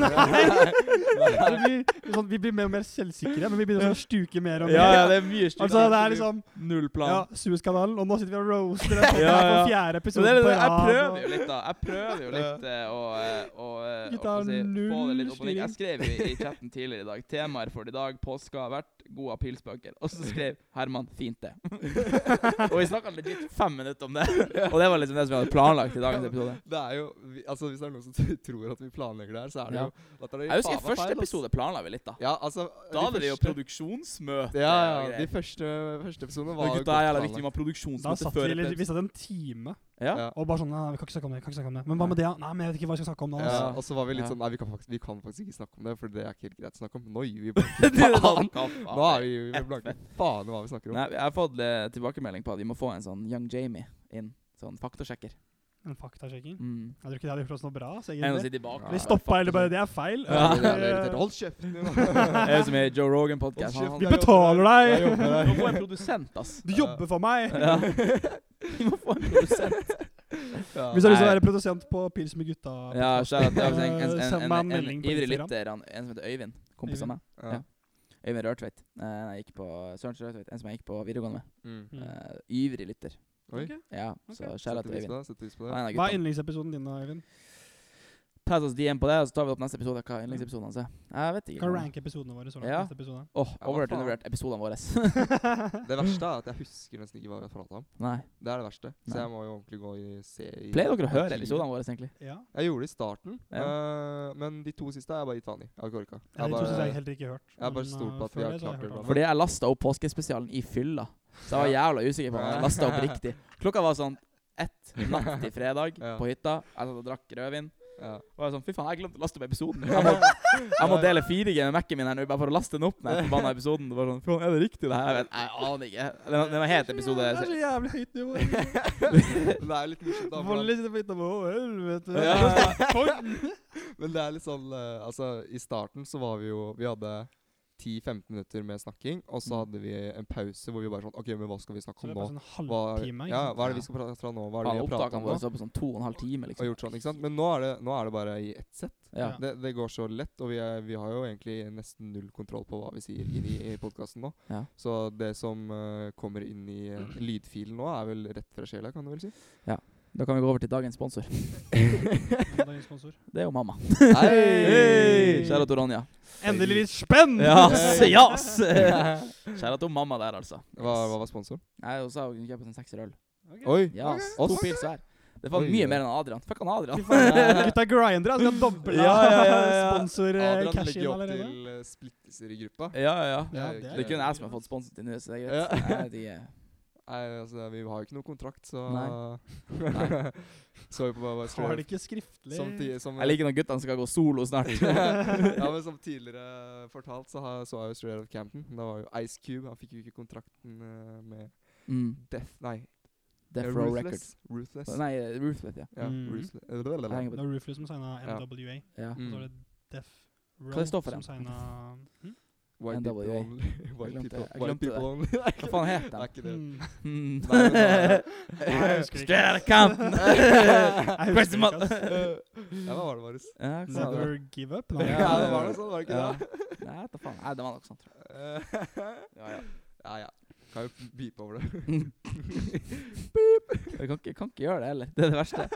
Så vi, sånn, vi blir mer og mer selvsikre, men vi begynner sånn å stuke mer og mer. det er mye altså, det er liksom null ja, Suezkanalen, og nå sitter vi og roaster den [laughs] Ja, på ja. fjerde Så episode det er, på det- jeg rad, prøver jo og- litt, da. Jeg prøver jo litt eh, å, eh, å, eh, Gutta, å få si, få det litt null opp og ned. Jeg styring. skrev i, i chatten tidligere i dag temaer for i dag, påska har vært god av pilsbøker. Og så skrev Herman 'fint [laughs] det'. og vi snakka legit fem minutter om det. Og det var liksom det som vi hadde planlagt i dagens episode. Det er jo, vi, altså Hvis det er noen som [laughs] t- tror at vi planlegger det her, så er det Ja. jo da tar dere Jeg husker i faen meg første feil, ass. episode planla vi litt, da. Ja, altså Da de hadde vi jo første- produksjonsmøte. Ja, og ja. greier. De første, første episodene var Men jo gutta er jævla godt viktig. Vi må ha Da produksjonsmøte satt før vi, litt- episode. vi satt en time [laughs] Ja. Ja. og bare sånn Nei, vi kan ikke snakke om det. vi kan ikke snakke om det Men hva med det? ja? Nei, men jeg vet ikke hva vi skal snakke om nå. planlagt. Altså. Ja, og så var vi litt Ja. sånn Nei, vi kan, faktisk, vi kan faktisk ikke snakke om det, for det er ikke helt greit å snakke om. Nå gir vi blanke. [laughs] Det er sånn, Nå er vi, vi blanke. Faen hva vi snakker om. Nei, jeg har fått eh, tilbakemelding på at vi må få en sånn Young Jamie inn. Sånn faktasjekker. En faktasjekking. Mm. Jeg tror ikke det hadde gjort oss noe bra. Så En å egentlig. sitte i bakgrunnen. Vi stoppa eller bare Det er feil. Eh, Ja. Det er jævlig irriterende. Hold kjeften din. [laughs] Det er jo som i Joe Rogan-podkast. Hold kjeft, De jeg betaler jobber her. deg. Jeg jobber her. Vi må få en produsent, ass. Du jobber for meg! Ja. Vi må få en produsent. Ja. [laughs] Hvis du har lyst til å Nei. være produsent på Pils med gutta Ja, så er det at det er en, en, en, Send en, meg en en, melding på ivrig Instagram. lytter, han, en som heter Øyvind, kompis av meg. Ja. Øyvind Rørtveit. Eh, nei, jeg gikk på Søren Rørtveit, en som jeg gikk på videregående med. Mm. Mm. Eh, ivrig lytter. Oi. Ok. Ja, så Ok. skjæra Setter til pris Øyvind. på det. Setter pris på Han det. er en av Hva er guttene. yndlingsepisoden din, da, Øyvind? Pass oss DM på det, og så tar vi opp neste episode. Hva Mm. er yndlingsepisoden hans? er. Jeg vet Kan ikke. ranke episodene våre så langt. Ja. neste episode. Åh, Ja, hva overvurdert faen? undervurdert episodene våre. [laughs] Det verste er at jeg husker nesten ikke hva vi har pratet om. Nei. Det er det verste. Så Nei. jeg må jo ordentlig gå og se i Pleier dere å høre arkivet. episodene våre, egentlig? Ja. Jeg gjorde det i starten, øh, men de to siste har jeg bare gitt faen i. Jeg har ikke orka. Ja, de Jeg to synes jeg bare, heller ikke hørt. jeg har bare men, stolt på eh, at vi før har så klart hørt det om bra. Fordi jeg lasta opp påskespesialen i fylla. Så jeg var jævla usikker på om jeg lasta [laughs] opp riktig. Klokka var sånn ett natt til fredag Ja. på hytta. Jeg satt og drakk rødvin. ja. Og jeg var sånn, fy faen, jeg glemte å laste opp [laughs] episoden. Jeg må, jeg må dele 4G med Mac-en min her nå, bare for å laste den opp. Den her forbanna episoden. Det var sånn, faen, er det riktig det her? Jeg, vet, jeg aner ikke. Den, den var helt episode Det er så jævlig høyt nivå. Men [laughs] det er litt [laughs] morsomt, da. for Volley sitter på hytta på Å, helvete. Ja. [laughs] [laughs] at- Men det er litt sånn øh, Altså, i starten så var vi jo Vi hadde 10-15 minutter med snakking, og så Mm. hadde vi en pause hvor vi bare sånn OK, men hva skal vi snakke Så om det er nå? bare sånn Hva, halvtime. ja, hva [laughs] er det vi skal prate fra nå? Hva er det Faen, vi har pratet Opptakene om nå? våre så på sånn to og en halv time, Og liksom. gjort sånn, ikke sant? Men nå er det, nå er det bare i ett sett. Ja. Ja. Det, det går så lett, og vi, er, vi har jo egentlig nesten null kontroll på hva vi sier inn i, i podkasten nå. Ja. Så det som eh, kommer inn i eh, lydfilen nå, er vel rett fra sjela, kan du vel si? Da kan vi gå over til dagens sponsor. skal Det er jo mamma. Hei! Kjære til Ronja. Endelig litt spenn! Ja, yes! Kjære til mamma der, altså. Hva, hva var sponsoren? Nei, hun sa hun kunne kjøpe seg en sekser øl. Oi! Ja, ass. Ok. To pils hver. Det var Oi, mye ja. mer enn Adrian. Fuck han Adrian. Gutta grinder, jeg skal doble Ja, ja, ja, ja. sponsor-cash Adrian legger inn jo opp allerede. til eh, splittelser i gruppa. [laughs] Eh, Ja, ja, ja. Ja, Det Det er kun jeg som har fått sponset til nå, så det er greit. Nei, de, er- Nei, altså, vi har jo ikke noe kontrakt, så Nei. [laughs] Så vi på hva Har det ikke skriftlig som, ti- som, jeg liker når guttene skal gå solo snart. [laughs] [laughs] ja, men som tidligere fortalt, så har, så er jo Straight Out Campton. Da var jo Ice Cube. Han fikk jo ikke kontrakten eh, med Mm. Death Nei, eh, Death Row Records. Ruthless. Ruthless. Nei, Rooflet, ja. Ja, Mm. Ruthless. Eh, det- det- det- Jeg henger det- Det var Ruthless som signa Ja. NWA. ja. Og så Mm. var det Def Hva det Row står for dem? som signa hm? White people NWA. only. [laughs] White glemte people, det. Jeg white glemte det. people only. [laughs] Det Hva faen het er den? ikke det. Hmm. Mm. Nei, men da- [laughs] [laughs] Nei, jeg husker ikke. Straight out Compton. Jeg husker Question ikke, mark. ass. Ja, hva var det, Marius? Ja, hva sa du? Never give up. Nei. Ja, det var det sånn, var det ikke Ja. det? Nei, vet da faen. Nei, det var nok sånn, tror jeg. Eh, [laughs] Ja, ja. Ja, ja. Kan jo beepe over det. [laughs] Beep. Jeg kan ikke, kan ikke gjøre det heller. Det er det verste.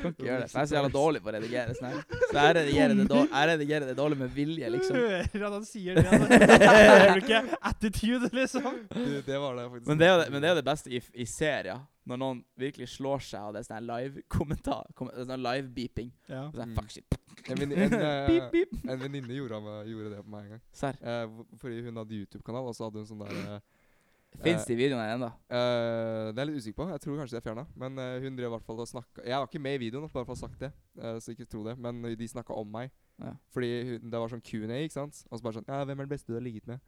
Kan ikke gjøre det. for Jeg er så jævla dårlig på å redigere sånn her. Så jeg redigerer det dårlig, jeg redigerer det dårlig med vilje, Du liksom. hører at han sier det. [laughs] altså. Hører du ikke attitude, liksom? Det, det var det, faktisk. Men det er jo det, men det, er jo det beste i, i serier. Når noen virkelig slår seg, og det er sånn her live-kommentar. kom- det er Sånn her live-beeping. Ja. Og så er jeg, Mm. Fuck shit. En veni- [laughs] en, eh, Beep, beep. en venninne gjorde, av meg- gjorde det på meg en gang. Serr. Eh, hvor- fordi hun hadde YouTube-kanal, og så hadde hun sånn der eh, Fins de videoene her ennå? Eh, det er jeg litt usikker på. Jeg tror kanskje det er fjerna. Men eh, hun drev i hvert fall og snakka Jeg var ikke med i videoen, bare for å ha sagt det. eh, så ikke tro det. Men de snakka om meg. Ja. Fordi hun, det var sånn Q&A, ikke sant. Og så bare sånn Ja, hvem er den beste du har ligget med?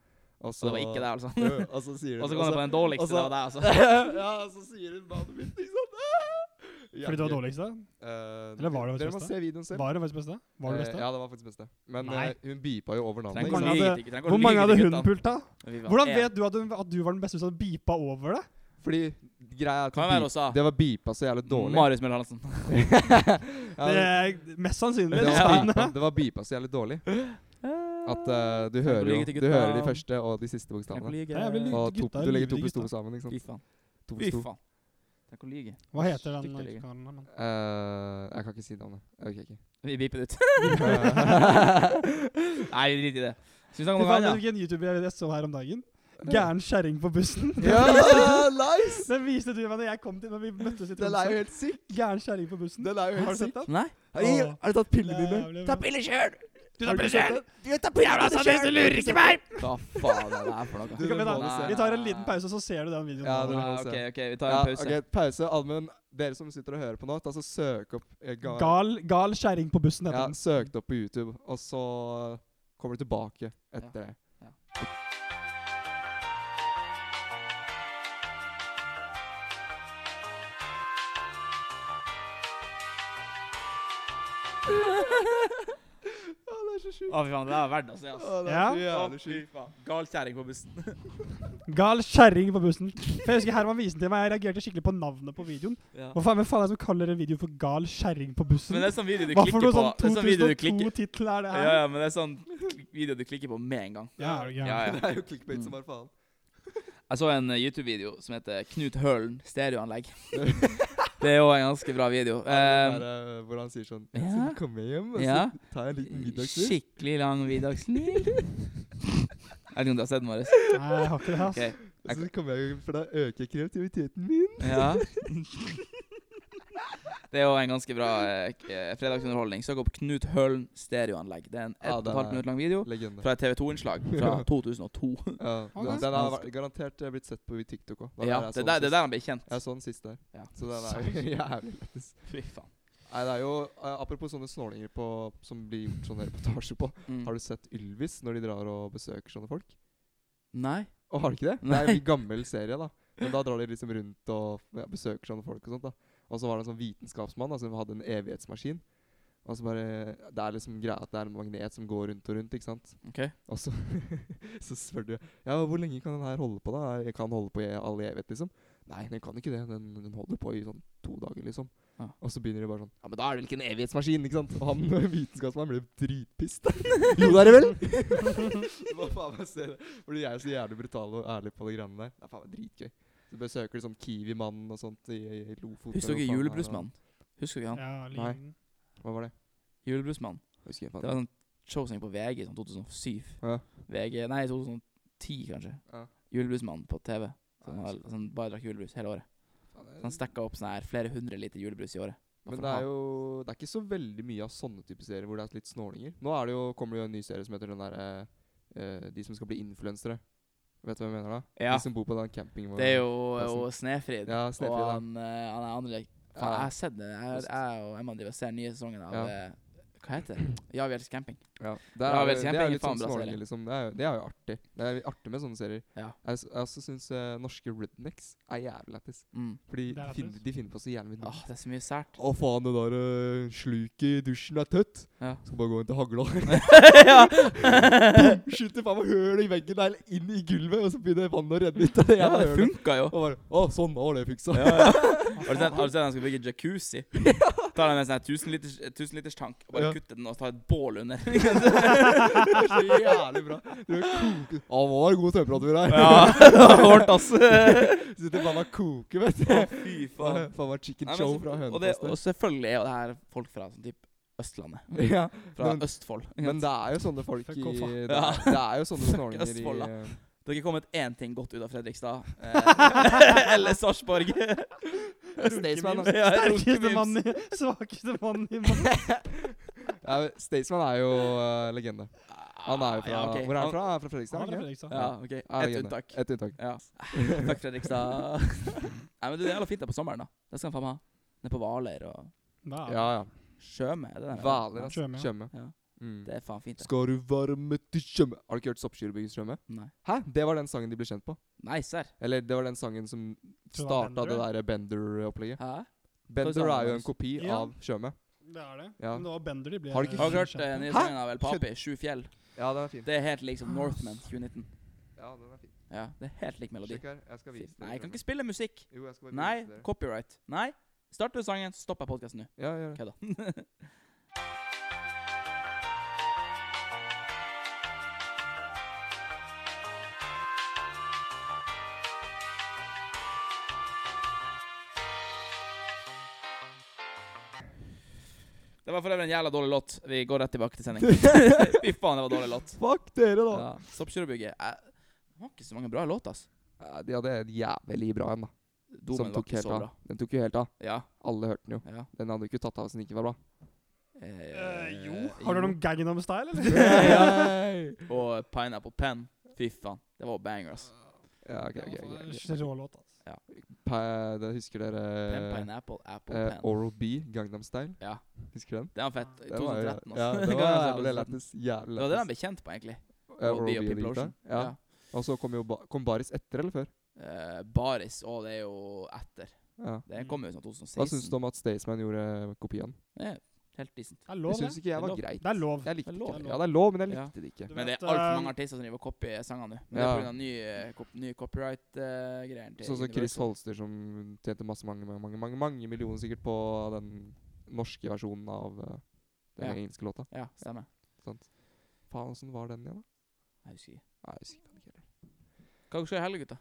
Og Så det var ikke det, altså. Jo, [laughs] og så sier hun Og så kom jeg på den dårligste. og så- Det var deg, altså. ja, og så sier hun navnet mitt, ikke sant. Fordi du var dårligst, da? Eller var det Eh, Dere faktisk må beste? se videoen selv. Var det faktisk beste? Var det Eh, beste? ja, det var faktisk beste. Men Nei. eh, hun beepa jo over navnet. Trenger Hvor ikke ikke mange å sant? lyge hadde- til- trenger ikke å Hvor lyge mange til hadde hun guttene. pulta? Fy faen, Hvordan en. vet du at, hun, at du var den beste hvis du hadde beepa over det? Fordi greia er at Kan hun være beep- også Mm. det var beepa så jævlig dårlig. Marius Møller Hansen. Ja, det er mest sannsynlig. Ja. Det var, beepa, det var beepa så jævlig dårlig at eh, du, hører jo, lyge til du hører de gutta. første og de siste bokstavene. Ja, jeg vil lyge. Og to, Gutta er du legger to lydige pluss to gutta. sammen. ikke Fy sant? faen. To Fy pluss to. faen. Tenk å lyge. Hva heter den Stygt å lyge. YouTube-kanalen? da, men? Eh, jeg kan ikke si navnet. Jeg orker [laughs] ikke. Vi beeper det ut. Eh. Nei, vi driter i det. Skal vi snakke Fy om noe faen, vet du annet? Hvilken YouTuber jeg- jeg så her om dagen? Gæren kjerring på [laughs] bussen. Ja, nice! Den viste du meg da jeg kom til når vi møttes i Den er jo Tromsø. helt syk. Gæren kjerring på bussen. Den er jo Har du helt sett syk. den? Nei? Hei, Åh. Har du tatt pillene dine? Jævlig Ta bra. piller sjøl! Du Har tar du piller sett selv! Du tar piller Jævla sadist, du lurer ikke meg! Hva faen er det her for noe? Du, Ok, men da, må du se. Vi tar en liten pause, og så ser du den videoen. Ja, nå. det- Ah, må OK, se. ok, vi tar Ja, en pause. [laughs] ok, pause. Allmuen, dere som sitter og hører på nå, ta så søk opp eh, ga- Gal, gal kjerring på bussen Ja, heter den. søk det opp på YouTube, og så eh, kommer du tilbake etter det. Å, det er så sjukt. Å, fy faen, det er verdt altså, å se, ass. Å, det er Ja. så Å, fy jævlig sjukt. faen. Gal kjerring på bussen. Gal kjerring på bussen. For jeg husker Herman viste den til meg, jeg reagerte skikkelig på navnet på videoen. Ja. Hva faen, hvem faen er det som kaller en video for gal kjerring på bussen? Men det er sånn video du Hva for klikker noe på. sånn Det er sånn video du klikker 2002-tittel er det her? Ja, ja, men det er sånn klik- video du klikker på med en gang. Ja, er du gæren? Ja, ja. [laughs] Mm. Det er jo clickbait som bare faen. Jeg så en eh, YouTube-video som heter Knut Hølen stereoanlegg. [laughs] det er jo en ganske bra video. Um, Eh, hvor han sier sånn ja. Jeg skal komme hjem, og ja. så tar jeg en liten middagstur. Skikkelig lang middagsliv. [laughs] Jeg vet ikke om du har sett den, Marius. Nei, jeg har ikke det, ass. Ok. Og så kommer jeg hjem, for da øker kreativiteten min. Ja. Det er jo en ganske bra eh, k- eh, fredagsunderholdning. Søk opp Knut Hølen stereoanlegg. Det er en Ja, 1 den 12 er- minutt lang video Legende. fra et TV2-innslag fra [laughs] 2002. Ja, [laughs] Ok. den, den har garantert eh, blitt sett på i TikTok òg. Ja, det er der, det er der han ble kjent. sånn Jeg så den sist der. Ja. Så den er jo [laughs] jævlig lættis. Fy faen. Nei, det er jo eh, Apropos sånne snålinger på, som blir gjort sånne reportasjer på. Mm. Har du sett Ylvis når de drar og besøker sånne folk? Nei? Å, har du ikke det? Det Nei. er en gammel serie, da. Men da drar de liksom rundt og ja, besøker sånne folk og sånt, da. Og så var det en sånn vitenskapsmann da, som hadde en evighetsmaskin. Og så bare Det er liksom greia at det er en magnet som går rundt og rundt, ikke sant. Ok. Og så, [laughs] så spør du Ja, hvor lenge kan den her holde på, da? Jeg kan holde på i all evighet, liksom. Nei, den kan ikke det. Den, den holder på i sånn to dager, liksom. Ja. Og så begynner de bare sånn Ja, men da er det vel ikke en evighetsmaskin, ikke sant? Og han [laughs] vitenskapsmannen ble dritpist. [laughs] jo, det er det vel! Hva faen meg ser det? Fordi jeg er så jævlig brutal og ærlig på de greiene der. Det er faen meg dritgøy. Så besøker de sånn Kiwi-mannen og sånt i, i i Lofoten. Husker dere eller hva faen er det? Julebrusmannen? Husker dere han? Ja, Nei. liten. Hva var det? Julebrusmannen. Husker jeg Det var sånn en showsing på VG i sånn 2007. Ja. VG, nei, 2010 kanskje. Ja. Julebrusmannen på TV. Som Nei, var, så- sånn, bare drakk julebrus hele året. faen, det Så han stekka opp sånn her flere hundre liter julebrus i året. Men det er jo Det er ikke så veldig mye av sånne type serier hvor det er litt snålinger. Nå er det jo, kommer det jo en ny serie som heter den derre De som skal bli influensere. Vet du hva jeg mener da? Ja, De som bor på den campingen vår. det er jo, liksom- Ja, sånn. jo Snefrid. Ja, og Snefrid, ja. han, eh, han er andre Faen, Ja. jeg har sett det. Jeg, Just. jeg og Emma driver og ser den nye sesongen av Ja. eh, Hva heter det? Ja, vi elsker camping. Ja, det Ja, er, vel, jo- det er camping er jo litt faen sånn bra serie. snålinger, liksom. Det er, jo, det er jo artig. Det er artig med sånne serier. Ja. Jeg, s- jeg også syns norske rednecks er jævlig lættis. Mm. Fordi Det er de finner, lættis. de finner på så jævlig mye. Åh, det er så mye sært. [laughs] Å, faen, det der eh, sluket i dusjen er tøtt. Ja. Skal bare gå inn til [laughs] hagla. ja. [laughs] Skyter faen meg høl i veggen der, eller inn i gulvet, og så begynner vannet å renne ut av det ja, jævla det hølet. funka jo. [laughs] Og bare Å, sånn, da var det fiksa. Ja, ja. [laughs] Har du sett har du sett at de skal bygge [laughs] jacuzzi? Tar de en sånn her 1000 liters, 1000 liters tank og bare Ja. kutter den og tar et bål [laughs] under. Så jævlig bra. Du er koke. Å, det var god temperatur her. Ja, hårdt, [laughs] ass. Sitter faen meg og koker, vet du. Fy faen. Faen meg chicken Nei, men show så- fra og, det, og Hønefoss. selvfølgelig er jo det her folk fra sånn typ Østlandet. der. [laughs] Ja, Fra men- Østfold. men det er jo sånne folk i Fuck off, da. Det Ja. er, det er jo sånne snålinger i Østfold, da. eh, Det har ikke kommet én ting godt ut av Fredrikstad. Eh, [laughs] eller Sarpsborg. Staysman, da. Ja, Sterkeste runkememes. mann i Svakeste mann i mann. Ja, men Staysman er jo eh, legende. Han er jo fra Ja, ok. Hvor er Ah, han fra? Han er fra Fredrikstad? Han er ikke? fra Fredrikstad. Ja, ok. Ja, Ett legende. unntak. Et unntak. [laughs] Ja. Fuck Fredrikstad. [laughs] Nei, men du, Det er jævla fint der på sommeren. da. Det skal han faen meg ha. Nede på Hvaler og Hva er det? Ja, ja. Tjøme. er det der? Hvaler, ass. Tjøme, ja. Tjøme. Ja. Mm. Det er faen fint. det. Skal du varme til tjømme Har du ikke hørt Soppskyrebyggens tjømme? Nei. Hæ? Det var den sangen de ble kjent på. Nei, serr. Eller det var den sangen som Tror det var starta det Bender, derre Bender-opplegget. Hæ? Bender er jo en kopi Ja. av Tjøme. Det er det. Ja. Men det var Bender de ble Har du ikke- Har dere hørt eh, nye Hæ? sangen av El Papi? Sju fjell. Ja, den er fin. Det er helt lik som Northman 2019. Ja, den er fin. Ja, det er helt lik melodi. her, jeg skal Fy- Nei, jeg kan ikke spille musikk. Jo, jeg skal Nei, copyright. Nei. Starter du sangen, så stopper jeg podkasten nå. Ja, gjør det. Kødda. Det var for øvrig en jævla dårlig låt. Vi går rett tilbake [laughs] til sending. Fy faen, det var dårlig låt. Fuck dere, da! Ja. Soppkjørebygget eh, Det var ikke så mange bra låter, ass. Ja, de hadde en jævlig bra en, da. Domen som var tok ikke helt så av. bra. Den tok jo helt av. Ja, Alle hørte den jo. ja. Den hadde jo ikke tatt av hvis den ikke var bra. Eh, jo. Har du hørt om Gangnam [laughs] Style, eller? ja, Og Pineapple Pen. Fy faen. Det var banger, ass. Eh, ok, ok. ok, ok. Rålåt, altså. Pa- det husker Pen, dere pineapple, apple, eh, pen. Oral B, Gangnam Style? Ja. Husker du den? Det var fett. altså. I Den var jo- 2013, ass. [laughs] Ja, det Kan var jeg se på jævlig 2013? lættis. Jævlig Det var det lættis. de ble kjent på, egentlig. Eh, Oral B og People Lita. Ocean. Ja. Og så kom jo ba kom Baris etter, eller før? Eh, Baris. Å, det er jo etter. Ja. Mm. Den kom jo sånn 2016. Hva syns du om at Staysman gjorde kopien? Det er helt decent. altså. Det er Det lov, syns det. ikke Det jeg er var lov. greit. Det er lov. Jeg likte Det er lov. ikke Det er det. Ja, det er lov, men jeg Ja. likte det ikke. Du Men det vet, er altfor eh, mange artister som driver og kopierer sangene nå. Men det Ja. er pga. nye, eh, kop nye eh, copyright-greier. Sånn som Chris Holster, som tjente masse mange, mange, mange, mange, mange millioner sikkert på den norske versjonen av eh, den Ja. engelske låta. Ja, stemmer. Faen, åssen var den igjen, da? Jeg husker ikke. Nei, jeg husker ikke den heller. Hva skjer i helga, gutta?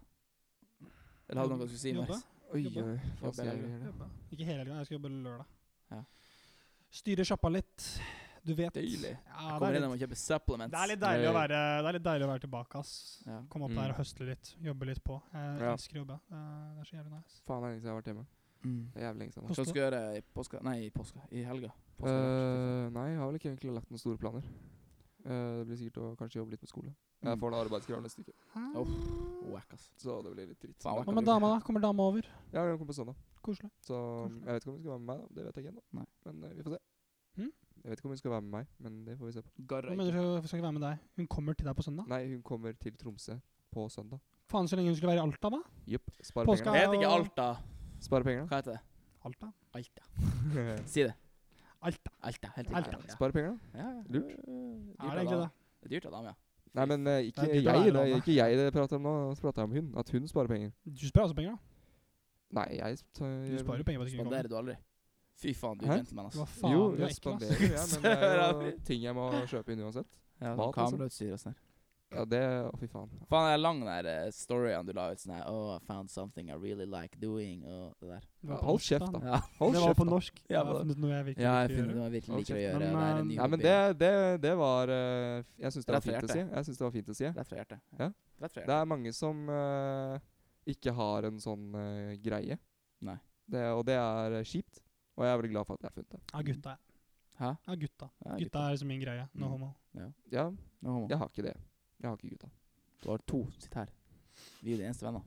Eller hadde du noe du skulle si? Jobbe. Marius? Oi, Jobba. oi, hva Jobba skal jeg eller? gjøre? Jobba. Ikke hele helga, jeg skal jobbe lørdag. Ja. Styre sjappa litt. Du vet Deilig. Ja, det, Kommer er inn og litt, må kjøpe supplements. det, er litt deilig å Nei. være, det er litt deilig å være tilbake, ass. Ja. Komme opp Mm. der og høsle litt. Jobbe litt på. Jeg Ja. elsker å jobbe. Det er- det er så jævlig nice. Faen, det er lenge siden jeg har vært hjemme. Det er jævlig lenge siden. Hva skal du gjøre i påska? Nei, i påska. I helga. Påska, Eh, nei, jeg har vel ikke egentlig lagt noen store planer. Eh, det blir sikkert å kanskje jobbe litt med skole. Jeg Mm. får en arbeidskrav neste uke, Uff, Eh, Wack, ass. så det blir litt dritt. Faen, hva Hva kan med du- dama, da? Kommer dama over? Ja, hun kommer på søndag, Koselig. så mm, jeg vet ikke om hun skal være med meg. da Det vet jeg ikke ennå, Nei. men eh, vi får se. Hm? Jeg vet ikke om hun skal være med meg, men det får vi se på. Hva Garra mener ikke. du hun skal ikke være med deg? Hun kommer til deg på søndag? Nei, hun kommer til Tromsø på søndag. Faen, så lenge hun skulle være i Alta, da? Jepp. Spare Påska- Det heter ikke Alta. pengene. Spare [laughs] pengene. Hva heter det? Alta? Alta. Si det. Alta. Alta. Helt Alta. riktig. Spare pengene. Ja. Ja, ja. Er Lurt. det egentlig det? Det er dyrt av dame, ja. Nei, men eh, Det ikke, er dyrt å jeg, være i det, landet. ikke jeg det prater om nå. Nå prater jeg om hun. At hun sparer penger. Du sparer også penger, da. Nei, jeg sp- tar- Du gjør- sparer jo penger på at du ikke kommer. Spanderer du aldri? Fy faen, du er Hæ? gentleman, ass. Hva faen, Jo, du er jeg ekkel, ass. spanderer, [laughs] jo, jeg, men det er jo Søren. ting jeg må kjøpe inn uansett. Ja, Mat, altså. Kamerautstyr og sånn. her. Ja, det Å, fy faen. Faen, det er lang den der eh, storyen du la ut sånn her Oh, I found something I really like doing, og det der. Det var på Hold norsk, kjeft, da. Ja, Hold det var på kjeft, da. norsk. Ja, jeg har men- funnet noe jeg virkelig ja jeg ikke finner gjøre. noe jeg virkelig Hold liker å kjeft. gjøre. Men, og det er en eh, ny Nei, men hobby. det, det, det var eh, f- Jeg syns det Rett var fra fint å si. hjertet. Jeg synes det var fint å si. jeg. Rett fra hjertet. Ja. Rett fra Det hjertet. er mange som eh, ikke har en sånn eh, greie. Nei. Det, og det er eh, kjipt. Og jeg er veldig glad for at jeg har funnet det. Ja, gutta. jeg. Hæ? Ja, gutta. Ja, Gutta er liksom min greie. No Mm. homo. Ja, Nå, homo. jeg har ikke det. Jeg har ikke gutta. Du har to som sitter her. Vi er de eneste venner.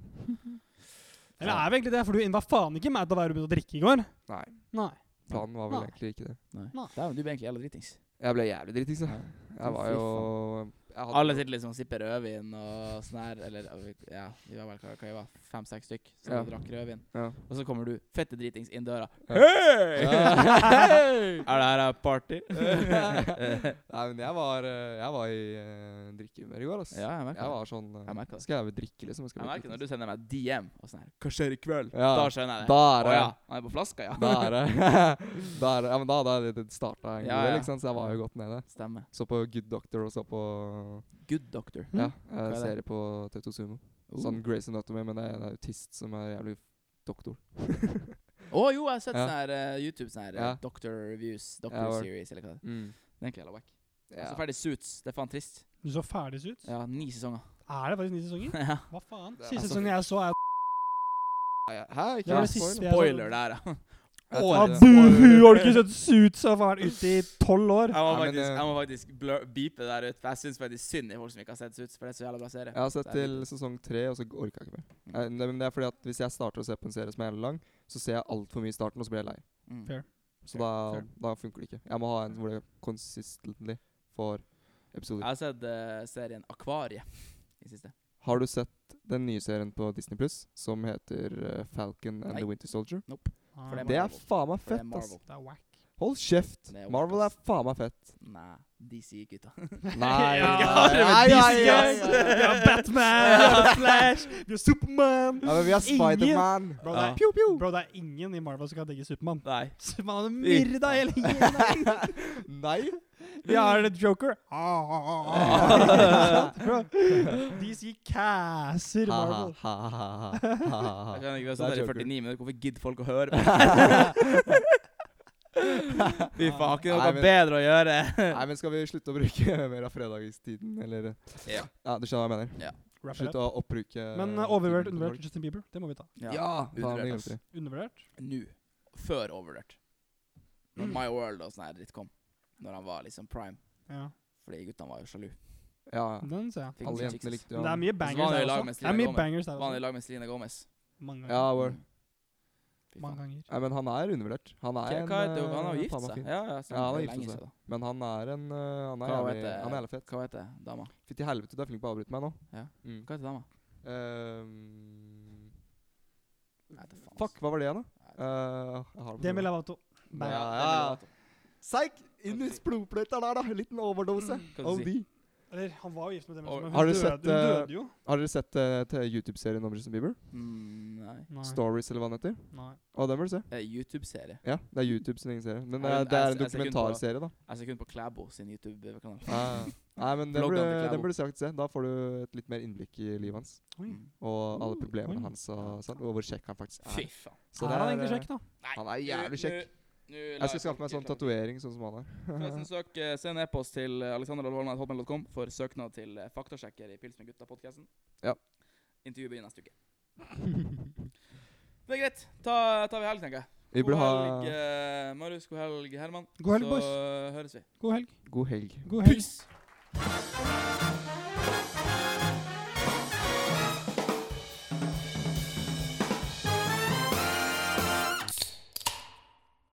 Eller er vi egentlig det? For du innva faen ikke meg til å være ute og drikke i går. Nei, Nei. planen var vel Nei. egentlig ikke det. Nei. Nei. Dæven, du blir egentlig jævla dritings. liksom. Jeg ble jævlig dritings, da. Ja. Jeg var Fy jo jeg hadde Alle jo- sitter liksom og sipper rødvin og sånn her. Eller ja, vi var vel hva, hva vi var fem-seks stykk som Ja. drakk rødvin. Ja. Og så kommer du fette dritings inn døra. Ja. Hei! Ja. [laughs] Hei! er det her er party? Nei, men jeg var, eh, jeg var i eh, drikkehumør i går, ass. ja, jeg merker Jeg det. var sånn eh, Jeg merker det. Skal jeg vel drikke, liksom? Skal Jeg merker når du sender meg DM og sånn her Hva skjer i kveld? Ja. Da skjønner jeg det. Da Å er det ja. Han er på flaska, ja. Da er det [laughs] Da er det Ja, men da hadde jeg starta en god Ja, del, ja. ikke sant, så jeg var jo godt nede. [laughs] Stemmer. Så på Good Doctor og så på Good doctor. Ja, Hm? er eh, det? Oh. serie på Tauto Sumo. Å Sånn Grace Anatomy, men det er en autist som er jævlig doktor. Å, jo, jeg har sett Ja. sånn her eh, YouTube sånn her eh, Ja. Doctor Reviews, Doctor Ja, vel. Series, eller hva det er. Mm. Det er egentlig jævla wack. Ja. Så ferdig Suits. Det er faen trist. Du så ferdig ut. Ja, ni sesonger. [laughs] Er det faktisk ni sesonger? ja. Hva faen? Det er Siste altså- sesongen jeg så, er Nei, Hæ? Ikke Ja, noe det siste spoil? jeg så- Boiler der, ja. Jeg Å, tenkte- buhu! Har du ikke sett Suits? Har vært ute i tolv år. Jeg må Ja, men, faktisk, eh, jeg må faktisk blur, beepe det der ut, for jeg syns faktisk synd i folk som ikke har sett Suits, for det er så jævla bra serie. Jeg har sett Det er til sesong tre, og så orka jeg ikke mer. Eh, nei, Men det er fordi at hvis jeg starter å se på en serie som er jævlig lang, så ser jeg altfor mye i starten, og så blir jeg lei. Mm. Fair. Fair, Så da, fair. da funker det ikke. Jeg må ha en hvor det consistently får Jeg episoder. har sett eh, serien Akvariet i siste. Har du sett den nye serien på Disney Pluss som heter eh, Falcon and Nei. the Winter Soldier? Ah, for det er Det er Marvel. faen meg For det fett, er ass. Marvel. det er wack. Hold kjeft. Det er Marvel wack, er faen meg [laughs] fett. Nei, DC-gutta. Nei. [laughs] Ja, Ja, det er Nei, med nei, Disney, ass. nei, nei, nei. Du er Batman, du er Flash, du er Supermann. Ja, men vi er Spiderman. Bro, det er- Pew, pew. Bro, det er ingen i Marvel som kan digge Supermann. Nei. Supermann hadde myrda hele gjengen. [laughs] Nei. Vi har en [laughs] Joker. Ah, ah, ah, ah. Bro, DC casser Marvel. Jeg Ha-ha-ha. kan ikke være Det sånn er der i Joker. 49 minutter. Hvorfor gidder folk å [laughs] høre [laughs] på? Fy faen, har ikke Nei, noe men- bedre å gjøre. [laughs] Nei, men skal vi slutte å bruke [laughs] mer av fredagstiden, eller Ja. Ja, du skjønner hva jeg mener. Wrap it Slutt up. å oppbruke Men uh, overvurdert, undervurdert Justin Bieber. Det må vi ta. Ja! faen, det undervurdert, glemte ass. vi. Undervurdert? nå, før Overdirt. Når My World og sånn her dritt kom. Når han var liksom prime. Ja. Fordi guttene var jo sjalu. Ja, Mm. ja. Den ser jeg. Fikk alle seg jentene chicks. likte jo Men det er han. mye var bangers han i der lag også. med Det er sånn- mye Selena bangers der Var han i også. lag med Selena Gomez? Mange Ja, ganger. word. Mm. Fy Mange faen. ganger. Nei, men han er undervurdert. Han Hva er en hva heter eh, hun? Han har jo gift altså. faen seg. meg fin. Ja, ja, Ja, han har det er giftet lenge seg. siden da. Men han er en eh, Han er Hva jævlig heter- han er jævlig fett. Hva heter dama? Fytti helvete, du er flink på å avbryte meg nå. Ja. Mm. Hva heter dama? Ehm, Nei, det er faen, fuck, hva var det igjen, da? ass. Nei, Eh, jeg har det på Demi tunga. Lavato. det- Bang. Ja, det er ja. Demi Lovato. Seik! Inn i blodplata der, da! Liten overdose. Hva skal du OD. si? Eller, han var jo gift med Demi Lovato, men Har hun du døde, sett, hun døde eh, jo. Har dere sett eh, til YouTube-serien om Justin Bieber? Mm, Nei. Nei. Stories, eller hva den heter? Nei. Å, den bør du se. Det er YouTube-serie. Ja, det er YouTube sin egen serie. Men det Ja, er, men det jeg er ser- en jeg ser kun på- dokumentarserie, [laughs] da. Jeg ser kun på Klæbo sin YouTube-kanal. Ja, ja. Nei, men den Vloggene burde, til Klæbo. den burde du sagt se. Da får du et litt mer innblikk i livet hans. Oi. Mm. Og alle oi. problemene hans og sånn. Og hvor kjekk han faktisk Fy er. faen. Så det er han er, egentlig eh, kjekk, da? Nei, Han er nå- jævlig kjekk. nå- nå lar Jeg skal skaffe meg folk sånn tilklage. tatovering, sånn som han er. Forresten, søk, eh, Send e-post til eh, alexanderholmland.com for søknad til eh, faktasjekker i Pils med gutta-podkasten. Ja. Intervjuet begynner neste uke. [laughs] Det er greit. Ta, tar vi helg, tenker jeg. [laughs] Vi burde ha helg, eh, Marius. God helg, Herman. God helg, Så boys. eh, høres vi. God helg. God helg. God helg. Peace!